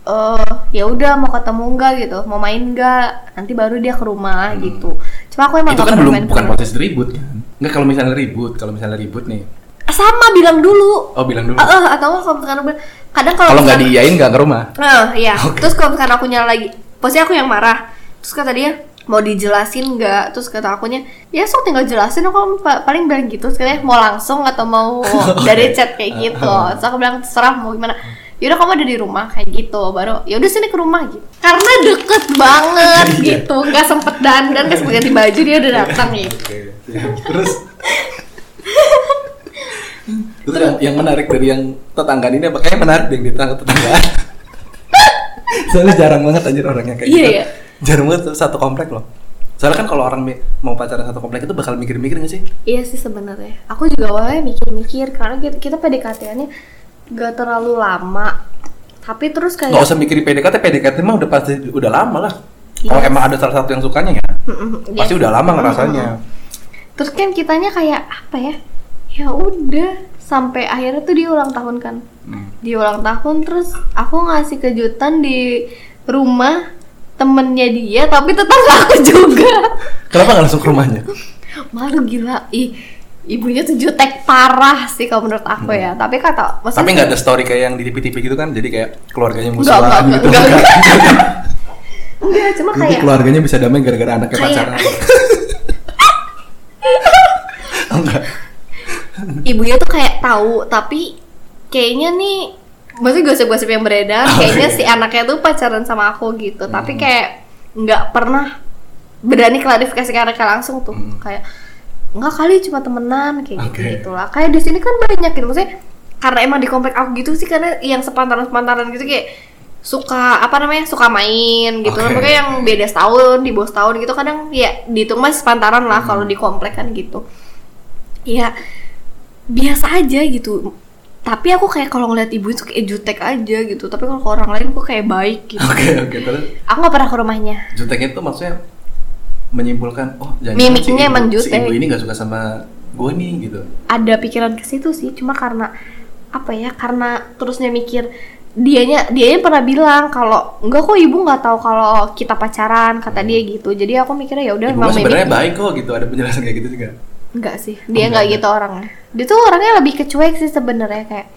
S2: eh ya udah mau ketemu nggak gitu mau main nggak nanti baru dia ke rumah gitu cuma aku emang
S1: Hmm. itu
S2: nggak
S1: kan
S2: pernah
S1: belum
S2: main ke
S1: bukan
S2: rumah.
S1: proses ribut kan nggak kalau misalnya ribut kalau misalnya ribut nih
S2: Ah, sama bilang dulu
S1: oh bilang dulu
S2: Eh, eh, atau nggak kalau misalkan aku bilang- kadang kalau
S1: kalau nggak
S2: misalkan-
S1: diiyain nggak ke rumah
S2: Nah, iya.
S1: Oke.
S2: Terus kalau misalkan akunya lagi, posisi aku yang marah. Terus kata dia, mau dijelasin nggak? Terus kata akunya, ya sok tinggal jelasin aku pa- paling bilang gitu. Terus katanya mau langsung atau mau dari chat kayak gitu. Terus aku bilang terserah mau gimana. Yaudah kamu ada di rumah kayak gitu baru yaudah sini ke rumah gitu karena deket banget
S1: Iya.
S2: gitu nggak sempet dandan nggak sempet ganti baju dia udah datang gitu
S1: oke terus terus yang, yang menarik dari yang tetanggaan ini apa kayaknya menarik deh yang tetangga tetanggaan soalnya jarang banget anjir orangnya kayak
S2: Iya,
S1: gitu
S2: iya.
S1: jarang banget satu komplek loh soalnya kan kalau orang mi- mau pacaran satu komplek itu bakal mikir-mikir nggak sih
S2: Iya sih sebenarnya. Aku juga awalnya mikir-mikir karena kita, kita PDKT-annya gak terlalu lama. Tapi terus kayak
S1: nggak usah mikirin PDKT PDKT mah udah pasti udah lama lah kalau
S2: Yes.
S1: emang ada salah satu yang sukanya ya
S2: Mm-mm, iya
S1: pasti
S2: sih.
S1: udah lama ngerasanya
S2: Terus kan kitanya kayak apa ya? Ya udah sampai akhirnya tuh dia ulang tahun kan.
S1: Hmm.
S2: Dia ulang tahun terus aku ngasih kejutan di rumah temennya dia tapi tetap aku juga.
S1: Kenapa nggak langsung ke rumahnya?
S2: Malu gila. Ih, ibunya tuh jutek parah sih kalau menurut aku ya. Tapi kata
S1: Hmm. Tapi
S2: maksudnya
S1: nggak ada story kayak yang di TV-TV gitu kan? Jadi kayak keluarganya
S2: Nggak,
S1: musuhan
S2: nggak,
S1: gitu.
S2: nggak,
S1: Nggak.
S2: enggak cuma
S1: Nanti
S2: kayak
S1: keluarganya bisa damai gara-gara anaknya
S2: Kayak-
S1: pacaran. Oh, enggak.
S2: ibunya tuh kayak tahu tapi kayaknya nih maksudnya gosip-gosip yang beredar
S1: Oke.
S2: kayaknya si anaknya tuh pacaran sama aku gitu
S1: Hmm.
S2: tapi kayak nggak pernah berani klarifikasi ke anaknya langsung tuh
S1: Hmm.
S2: kayak nggak kali cuma temenan kayak gitu
S1: Oke.
S2: gitulah kayak di sini kan banyak gitu maksudnya karena emang di komplek aku gitu sih karena yang sepantaran-sepantaran gitu kayak suka apa namanya suka main gitu
S1: Oke.
S2: mereka yang beda setahun di bawah setahun gitu kadang ya dihitung mah sepantaran lah
S1: Hmm.
S2: kalau di komplek kan gitu ya biasa aja gitu tapi aku kayak kalau ngeliat ibu itu kayak jutek aja gitu tapi kalau ke orang lain aku kayak baik gitu
S1: Oke, oke. Terus
S2: aku nggak pernah ke rumahnya
S1: juteknya tuh maksudnya menyimpulkan, oh jangan
S2: Mimiknya
S1: si ibu-
S2: emang
S1: si
S2: jutek.
S1: ibu ini nggak suka sama gue nih gitu.
S2: ada pikiran ke situ sih cuma karena apa ya karena terusnya mikir dianya dianya pernah bilang kalau enggak kok ibu nggak tahu kalau kita pacaran kata dia gitu jadi aku mikirnya ya udah
S1: Ibu
S2: emang
S1: kan sebenarnya
S2: mimik-
S1: baik kok gitu. Ada penjelasan kayak gitu juga.
S2: Enggak sih, dia
S1: Oh,
S2: enggak
S1: enggak.
S2: gitu orangnya. Dia tuh orangnya lebih kecuek sih sebenarnya kayak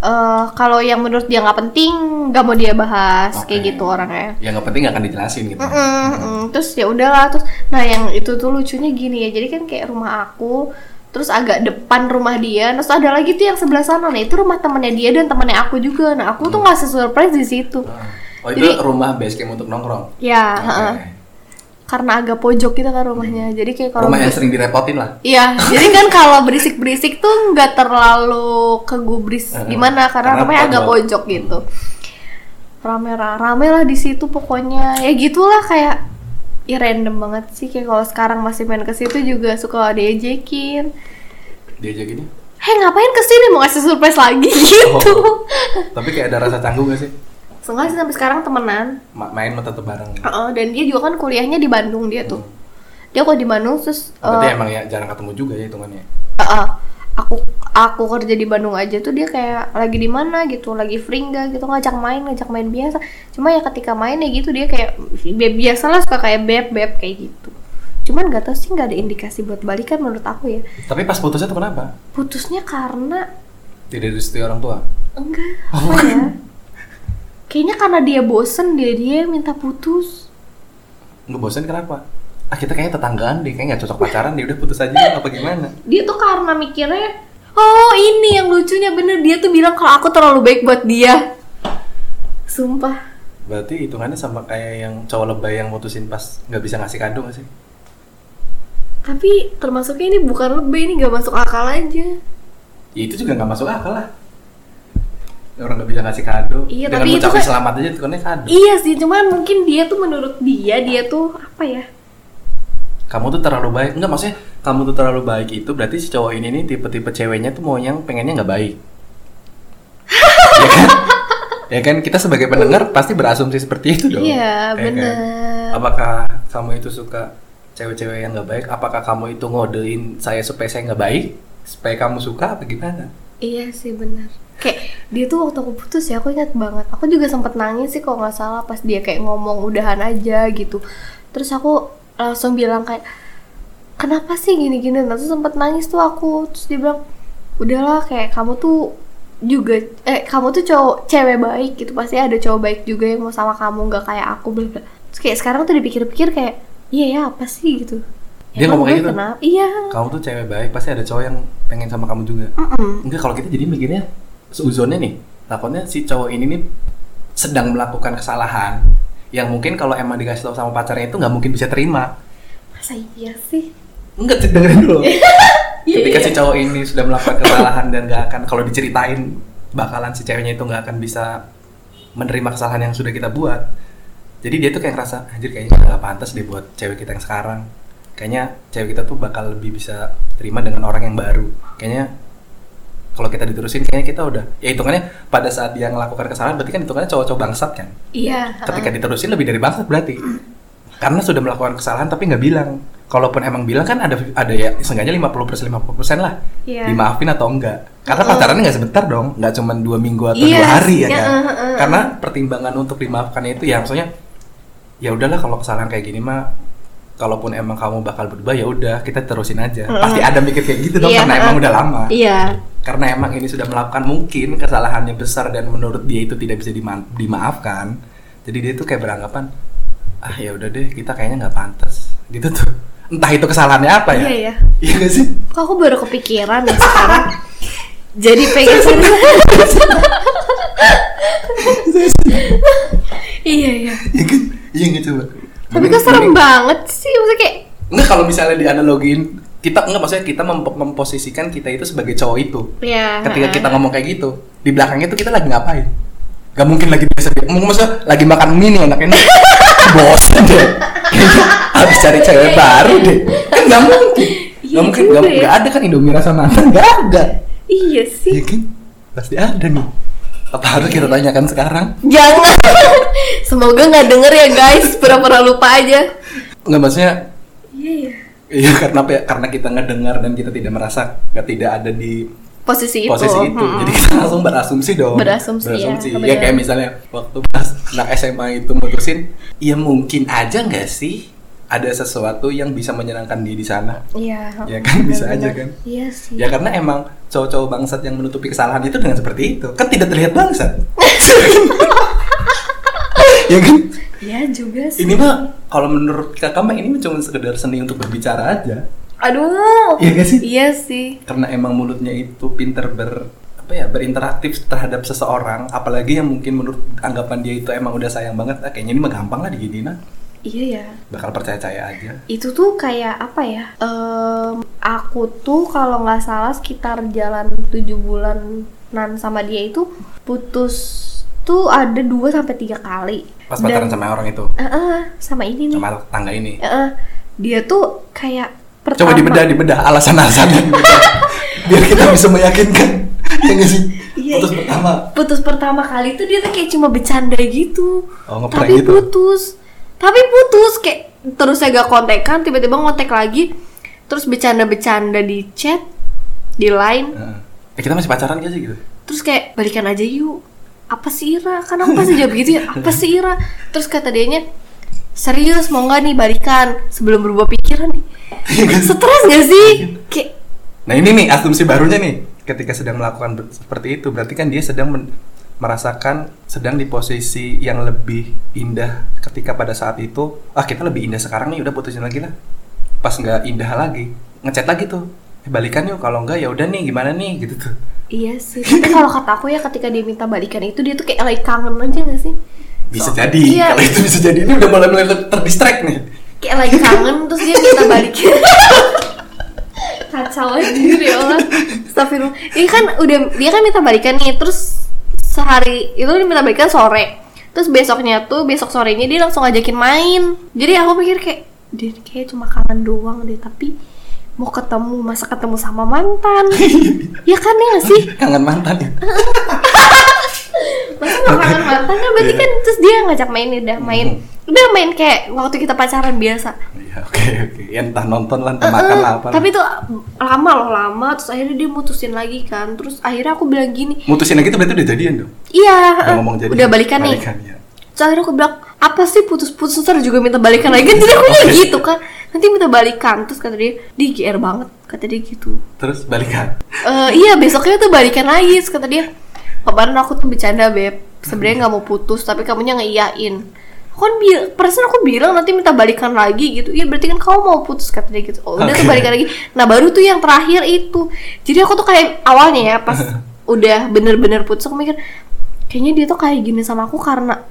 S2: eh kalau yang menurut dia nggak penting, nggak mau dia bahas kayak
S1: Oke.
S2: gitu orangnya.
S1: Yang Ya, nggak penting nggak akan dijelasin gitu.
S2: Mm-mm, mm. Terus ya udahlah, terus nah yang itu tuh lucunya gini ya. Jadi kan kayak rumah aku, terus agak depan rumah dia, terus ada lagi tuh yang sebelah sana nah itu rumah temennya dia dan temennya aku juga. Nah aku tuh ngasih surprise di situ.
S1: Oh itu
S2: Jadi-
S1: rumah base camp untuk nongkrong.
S2: Ya,
S1: Oke.
S2: heeh. karena agak pojok gitu kan rumahnya. Jadi kayak kalau
S1: Rumah yang sering direpotin lah.
S2: Iya, jadi kan kalau berisik-berisik tuh nggak terlalu kegubris
S1: Heeh.
S2: gimana karena
S1: Karena
S2: rumahnya agak
S1: pojok.
S2: pojok gitu. Rame ra- rame lah di situ pokoknya. Ya gitulah kayak ya random banget sih kayak kalau sekarang masih main ke situ juga suka diejekin.
S1: Diajakinnya.
S2: Hei ngapain kesini mau ngasih surprise lagi gitu?
S1: Oh. Tapi kayak ada rasa canggung gak sih?
S2: Seenggaknya sih sampai sekarang temenan.
S1: Ma- main mah tetap bareng
S2: Heeh, dan dia juga kan kuliahnya di Bandung dia tuh. Dia kok di Bandung terus
S1: berarti
S2: eh,
S1: emang ya jarang ketemu juga ya hitungannya
S2: Heeh. aku aku kerja di Bandung aja tuh dia kayak lagi di mana gitu, lagi free nggak gitu ngajak main, ngajak main biasa. Cuma ya ketika main ya gitu dia kayak bi- biasalah suka kayak beb-beb kayak gitu. Cuman gak tau sih nggak ada indikasi buat balikan menurut aku ya.
S1: tapi pas putusnya tuh kenapa
S2: Putusnya karena
S1: tidak direstui orang tua
S2: enggak apa ya? Kayaknya karena dia bosen dia dia minta putus.
S1: nggak bosan kenapa ah kita kayaknya tetanggaan deh kayaknya nggak cocok pacaran deh udah putus aja apa gimana
S2: dia tuh karena mikirnya oh ini yang lucunya bener dia tuh bilang kalau aku terlalu baik buat dia sumpah
S1: berarti hitungannya sama kayak yang cowok lebay yang mutusin pas nggak bisa ngasih kado nggak sih
S2: tapi termasuknya ini bukan lebih ini gak masuk akal aja
S1: ya itu juga nggak masuk akal lah orang nggak bisa ngasih kado
S2: Iya,
S1: dengan
S2: tapi itu
S1: ngucapin
S2: kan-
S1: selamat aja hitungannya kado
S2: iya sih cuman mungkin dia tuh menurut dia dia tuh apa ya
S1: kamu tuh terlalu baik enggak maksudnya kamu tuh terlalu baik itu berarti si cowok ini nih tipe-tipe ceweknya tuh mau yang pengennya nggak baik ya kan ya kan kita sebagai pendengar pasti berasumsi seperti itu dong
S2: iya
S1: Ya kan?
S2: bener
S1: apakah kamu itu suka cewek-cewek yang nggak baik apakah kamu itu ngodein saya supaya saya nggak baik supaya kamu suka apa gimana
S2: iya sih bener kayak dia tuh waktu aku putus ya aku ingat banget aku juga sempet nangis sih kalau nggak salah pas dia kayak ngomong udahan aja gitu terus aku langsung bilang kayak kenapa sih gini-gini Nah, terus sempet nangis tuh aku terus dia bilang udahlah kayak kamu tuh juga eh kamu tuh cowok cewek baik gitu pasti ada cowok baik juga yang mau sama kamu nggak kayak aku bla bla. terus kayak sekarang tuh dipikir-pikir kayak iya ya apa sih gitu
S1: Dia
S2: Emang
S1: ngomong
S2: gue
S1: kayak gitu?
S2: kenapa? iya
S1: kamu tuh cewek baik pasti ada cowok yang pengen sama kamu juga
S2: Mm-mm.
S1: enggak kalau kita jadi mikirnya seuzonnya nih takutnya si cowok ini nih sedang melakukan kesalahan yang mungkin kalau emang dikasih tahu sama pacarnya itu nggak mungkin bisa terima
S2: masa iya sih
S1: enggak dengerin dulu
S2: Iya,
S1: ketika
S2: iya.
S1: si cowok ini sudah melakukan kesalahan dan nggak akan kalau diceritain bakalan si ceweknya itu nggak akan bisa menerima kesalahan yang sudah kita buat jadi dia tuh kayak ngerasa anjir kayaknya nggak pantas deh buat cewek kita yang sekarang kayaknya cewek kita tuh bakal lebih bisa terima dengan orang yang baru kayaknya kalau kita diterusin kayaknya kita udah ya hitungannya pada saat dia melakukan kesalahan berarti kan hitungannya cowok-cowok bangsat kan
S2: iya
S1: ketika diterusin lebih dari bangsat berarti karena sudah melakukan kesalahan tapi nggak bilang kalaupun emang bilang kan ada ada ya seenggaknya 50 persen 50 lah
S2: Iya.
S1: dimaafin atau enggak karena pacarannya nggak sebentar dong nggak cuma dua minggu atau
S2: Iya
S1: dua hari ya
S2: sih,
S1: kan
S2: heeh, heeh.
S1: karena pertimbangan untuk dimaafkan itu ya maksudnya ya udahlah kalau kesalahan kayak gini mah kalaupun emang kamu bakal berubah ya udah kita terusin aja pasti ada mikir kayak gitu dong
S2: Iya,
S1: karena
S2: heeh.
S1: emang udah lama
S2: iya
S1: karena emang ini sudah melakukan mungkin kesalahannya besar dan menurut dia itu tidak bisa dima- dimaafkan jadi dia tuh kayak beranggapan ah ya udah deh kita kayaknya nggak pantas gitu tuh entah itu kesalahannya apa ya
S2: Iya, iya.
S1: iya nggak sih
S2: Kok aku baru kepikiran ya sekarang? Jadi pengen Iya iya.
S1: iya kan iya nggak coba
S2: Tapi kok serem banget sih maksudnya kayak
S1: nggak kalau misalnya dianalogiin kita nggak maksudnya kita mem- memposisikan kita itu sebagai cowok itu
S2: ya.
S1: ketika
S2: heeh.
S1: kita ngomong kayak gitu di belakangnya tuh kita lagi ngapain Gak mungkin lagi biasa biasa maksudnya lagi makan mie nih anak ini bosan deh Kayaknya habis cari cewek baru deh kan gak mungkin
S2: Iya
S1: gak mungkin
S2: juga
S1: gak,
S2: ya.
S1: gak ada kan Indomie rasa mantan gak ada
S2: Iya sih.
S1: ya kan pasti ada nih apa harus kita tanyakan sekarang
S2: Jangan. Semoga nggak denger ya guys. Pura-pura lupa aja.
S1: nggak maksudnya
S2: Iya iya.
S1: iya karena apa ya? karena kita ngedengar dan kita tidak merasa nggak tidak ada di
S2: Posisi itu.
S1: posisi itu.
S2: heeh.
S1: Jadi kita langsung berasumsi dong.
S2: Berasumsi, ya,
S1: ya.
S2: kebenaran.
S1: kayak misalnya waktu pas anak SMA itu mutusin, ya mungkin aja nggak sih ada sesuatu yang bisa menyenangkan dia di sana.
S2: Iya.
S1: Ya kan, bisa aja
S2: benar-benar.
S1: kan?
S2: Iya sih.
S1: Ya karena emang cowok-cowok bangsat yang menutupi kesalahan itu dengan seperti itu. Kan tidak terlihat bangsat. ya kan?
S2: Iya juga sih.
S1: Ini mah kalau menurut kakak mah ini mah cuma sekedar seni untuk berbicara aja.
S2: Aduh.
S1: Iya nggak sih?
S2: Iya sih.
S1: karena emang mulutnya itu pinter ber apa ya berinteraktif terhadap seseorang apalagi yang mungkin menurut anggapan dia itu emang udah sayang banget ah, kayaknya ini mah gampang lah diginiin ah.
S2: Iya ya.
S1: bakal percaya percaya aja
S2: itu tuh kayak apa ya Em, aku tuh kalau nggak salah sekitar jalan 7 bulanan sama dia itu putus tuh ada 2 sampai tiga kali
S1: pas
S2: Dan-
S1: pacaran sama orang itu
S2: Eh, eh, sama ini nih
S1: sama tangga ini
S2: Eh, eh, dia tuh kayak pertama
S1: coba dibedah dibedah alasan alasannya biar kita bisa meyakinkan ya nggak sih
S2: Iya.
S1: putus pertama
S2: putus pertama kali tuh dia tuh kayak cuma bercanda gitu
S1: Oh, ngeprank
S2: tapi
S1: gitu.
S2: putus tapi putus kayak terus saya gak kontekan tiba-tiba ngontek lagi terus bercanda-bercanda di chat di line
S1: Heeh. eh, kita masih pacaran gak sih gitu
S2: terus kayak balikan aja yuk apa sih Ira kan aku pasti jawab gitu ya apa sih Ira terus kata dianya serius mau nggak nih balikan sebelum berubah pikiran nih stres gak sih kayak
S1: nah ini nih asumsi barunya nih ketika sedang melakukan ber- seperti itu berarti kan dia sedang men- merasakan sedang di posisi yang lebih indah ketika pada saat itu ah kita lebih indah sekarang nih udah putusin lagi lah pas nggak indah lagi ngechat lagi tuh eh, balikan yuk kalau nggak ya udah nih gimana nih gitu tuh
S2: iya sih tapi kalau kata aku ya ketika dia minta balikan itu dia tuh kayak lagi kangen aja gak sih
S1: bisa
S2: So-
S1: jadi
S2: Iya.
S1: kalau itu bisa jadi ini udah mulai mulai ter- terdistract nih
S2: kayak lagi kangen terus dia minta balikin kacau anjir ya Allah Astagfirullah ini kan udah dia kan minta balikan nih terus sehari itu dia minta balikan sore terus besoknya tuh besok sorenya dia langsung ngajakin main jadi aku pikir kayak dia kayak cuma kangen doang deh tapi mau ketemu masa ketemu sama mantan ya kan ya nggak sih
S1: kangen mantan ya
S2: masa nggak kangen mantan kan berarti kan terus dia ngajak main nih, udah main udah main kayak waktu kita pacaran biasa
S1: Iya, oke oke Ya, entah nonton lah entah makan lah apa lah.
S2: Eh, tapi itu lama loh lama terus akhirnya dia mutusin lagi kan terus akhirnya aku bilang gini
S1: mutusin lagi itu berarti udah jadian dong udah
S2: iya
S1: ngomong jadian
S2: udah balikan, nih
S1: ya.
S2: terus akhirnya aku bilang apa sih putus-putus ntar juga minta balikan lagi jadi aku kayak gitu kan nanti minta balikan terus kata dia dia GR banget kata dia gitu
S1: terus balikan
S2: Eh, iya besoknya tuh balikan lagi terus kata dia "Oh, kemarin aku tuh bercanda beb sebenarnya nggak mau putus tapi kamunya ngeiyain aku kan bi- perasaan aku bilang nanti minta balikan lagi gitu iya berarti kan kamu mau putus kata dia gitu oh udah tuh
S1: Oke.
S2: balikan lagi nah baru tuh yang terakhir itu jadi aku tuh kayak awalnya ya pas udah bener-bener putus aku mikir kayaknya dia tuh kayak gini sama aku karena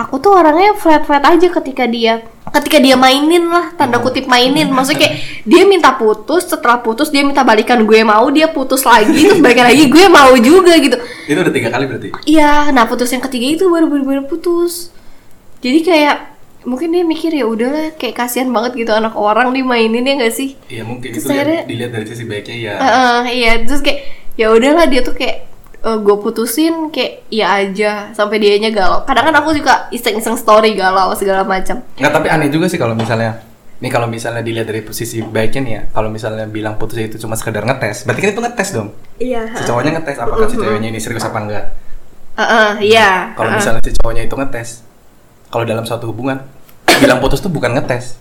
S2: aku tuh orangnya flat flat aja ketika dia ketika dia mainin lah tanda kutip mainin maksudnya kayak dia minta putus setelah putus dia minta balikan gue mau dia putus lagi terus balikan lagi gue mau juga gitu
S1: itu udah tiga kali berarti
S2: iya nah putus yang ketiga itu baru baru baru putus jadi kayak mungkin dia mikir ya udahlah kayak kasihan banget gitu anak orang dimainin ya gak sih
S1: Iya mungkin
S2: Terus
S1: itu lihat-
S2: akhirnya-
S1: dilihat dari sisi baiknya ya
S2: Heeh, iya terus kayak ya udahlah dia tuh kayak gue putusin kayak ya aja sampai dianya galau kadang kan aku juga iseng-iseng story galau segala macam
S1: nggak tapi aneh juga sih kalau misalnya nih kalau misalnya dilihat dari posisi baiknya nih ya kalau misalnya bilang putusnya itu cuma sekedar ngetes berarti kan itu ngetes dong
S2: iya
S1: si cowoknya ngetes apakah si ceweknya ini serius apa enggak
S2: Heeh, iya
S1: kalau
S2: heeh.
S1: misalnya si cowoknya itu ngetes kalau dalam suatu hubungan bilang putus tuh bukan ngetes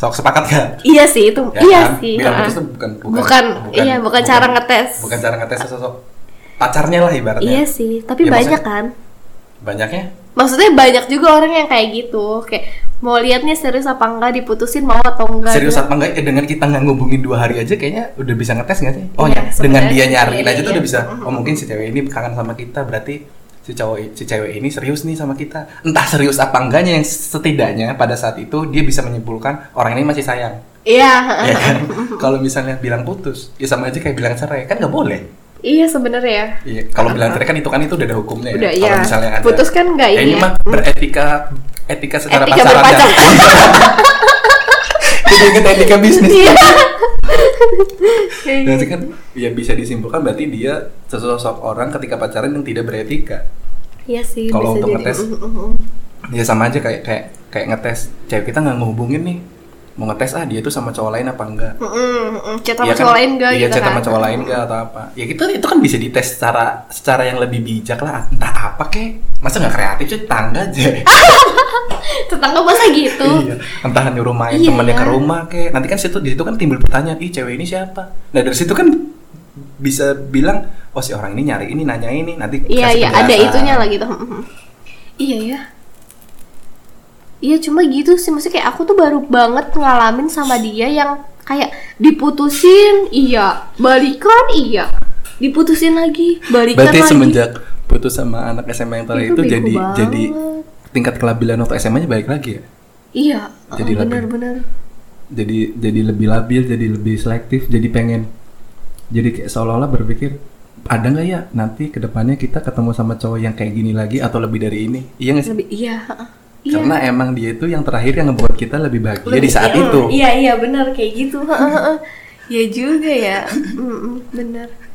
S1: sok sepakat gak
S2: iya sih itu
S1: Ya
S2: iya
S1: kan?
S2: sih
S1: bilang
S2: heeh.
S1: putus tuh bukan bukan,
S2: Bukan, iya, bukan cara ngetes.
S1: bukan cara ngetes sosok pacarnya lah ibaratnya
S2: iya sih tapi
S1: Ya,
S2: banyak
S1: maksudnya-
S2: kan
S1: banyaknya
S2: maksudnya banyak juga orang yang kayak gitu kayak mau lihat nih serius apa enggak diputusin mau atau enggak gitu.
S1: serius
S2: Dia-
S1: apa enggak eh, dengan kita nggak ngubungin dua hari aja kayaknya udah bisa ngetes nggak sih oh
S2: Iya,
S1: ya dengan
S2: sebenarnya
S1: dia
S2: sih,
S1: nyariin
S2: iya,
S1: aja tuh
S2: iya.
S1: udah bisa oh mungkin si cewek ini kangen sama kita berarti si cowok si cewek ini serius nih sama kita entah serius apa enggaknya yang setidaknya pada saat itu dia bisa menyimpulkan orang ini masih sayang
S2: iya
S1: ya
S2: heeh.
S1: kan kalau misalnya bilang putus ya sama aja kayak bilang cerai kan nggak boleh
S2: iya sebenarnya
S1: Iya, kalau bilang cerai kan itu kan itu udah ada hukumnya
S2: udah
S1: ya.
S2: iya
S1: Kalau misalnya ada
S2: putus kan enggak
S1: Ya,
S2: ini
S1: ini
S2: ya.
S1: mah beretika etika secara
S2: Etika
S1: pacaran ya.
S2: berpacaran.
S1: Jadi ingat etika bisnis.
S2: Iya. gitu.
S1: Berarti kan ya bisa disimpulkan berarti dia sesosok orang ketika pacaran yang tidak beretika.
S2: Iya sih.
S1: Kalau
S2: bisa
S1: untuk
S2: jadi.
S1: ngetes.
S2: Mm, mm, mm.
S1: Ya sama aja kayak kayak kayak ngetes cewek kita nggak ngehubungin nih mau ngetes ah dia tuh sama cowok lain apa enggak
S2: Mm, mm, mm. Chat sama
S1: Iya kan?
S2: cowok lain gak
S1: iya,
S2: gitu
S1: chat
S2: kan?
S1: sama cowok lain gak atau apa ya kita itu kan bisa dites secara secara yang lebih bijak lah entah apa kek masa nggak kreatif sih tangga aja
S2: Tetangga masa gitu.
S1: iya. entah nyuruh main
S2: Iya.
S1: temennya ke rumah kek nanti kan situ di situ kan timbul pertanyaan ih cewek ini siapa nah dari situ kan bisa bilang oh si orang ini nyari ini nanya ini nanti
S2: Iya
S1: kasih
S2: iya ada
S1: penjelasan.
S2: itunya lah gitu. Mm, mm. Iya ya. Iya cuma gitu sih maksudnya kayak aku tuh baru banget ngalamin sama dia yang kayak diputusin iya balikan iya diputusin lagi balikan
S1: berarti
S2: lagi
S1: semenjak putus sama anak SMA yang tadi
S2: Itu
S1: itu,
S2: bego
S1: jadi
S2: banget.
S1: jadi tingkat kelabilan waktu SMA-nya baik lagi ya
S2: iya
S1: Jadi lebih-
S2: bener-bener
S1: jadi jadi lebih labil jadi lebih selektif jadi pengen jadi kayak seolah-olah berpikir ada nggak ya nanti kedepannya kita ketemu sama cowok yang kayak gini lagi atau lebih dari ini iya nggak sih
S2: lebih iya heeh. iya
S1: karena emang dia itu yang terakhir yang ngebuat kita lebih bahagia di saat
S2: Lebih-
S1: itu
S2: gitu. Iya iya benar kayak gitu. Heeh, heeh. ya juga ya. Mm, mm, benar.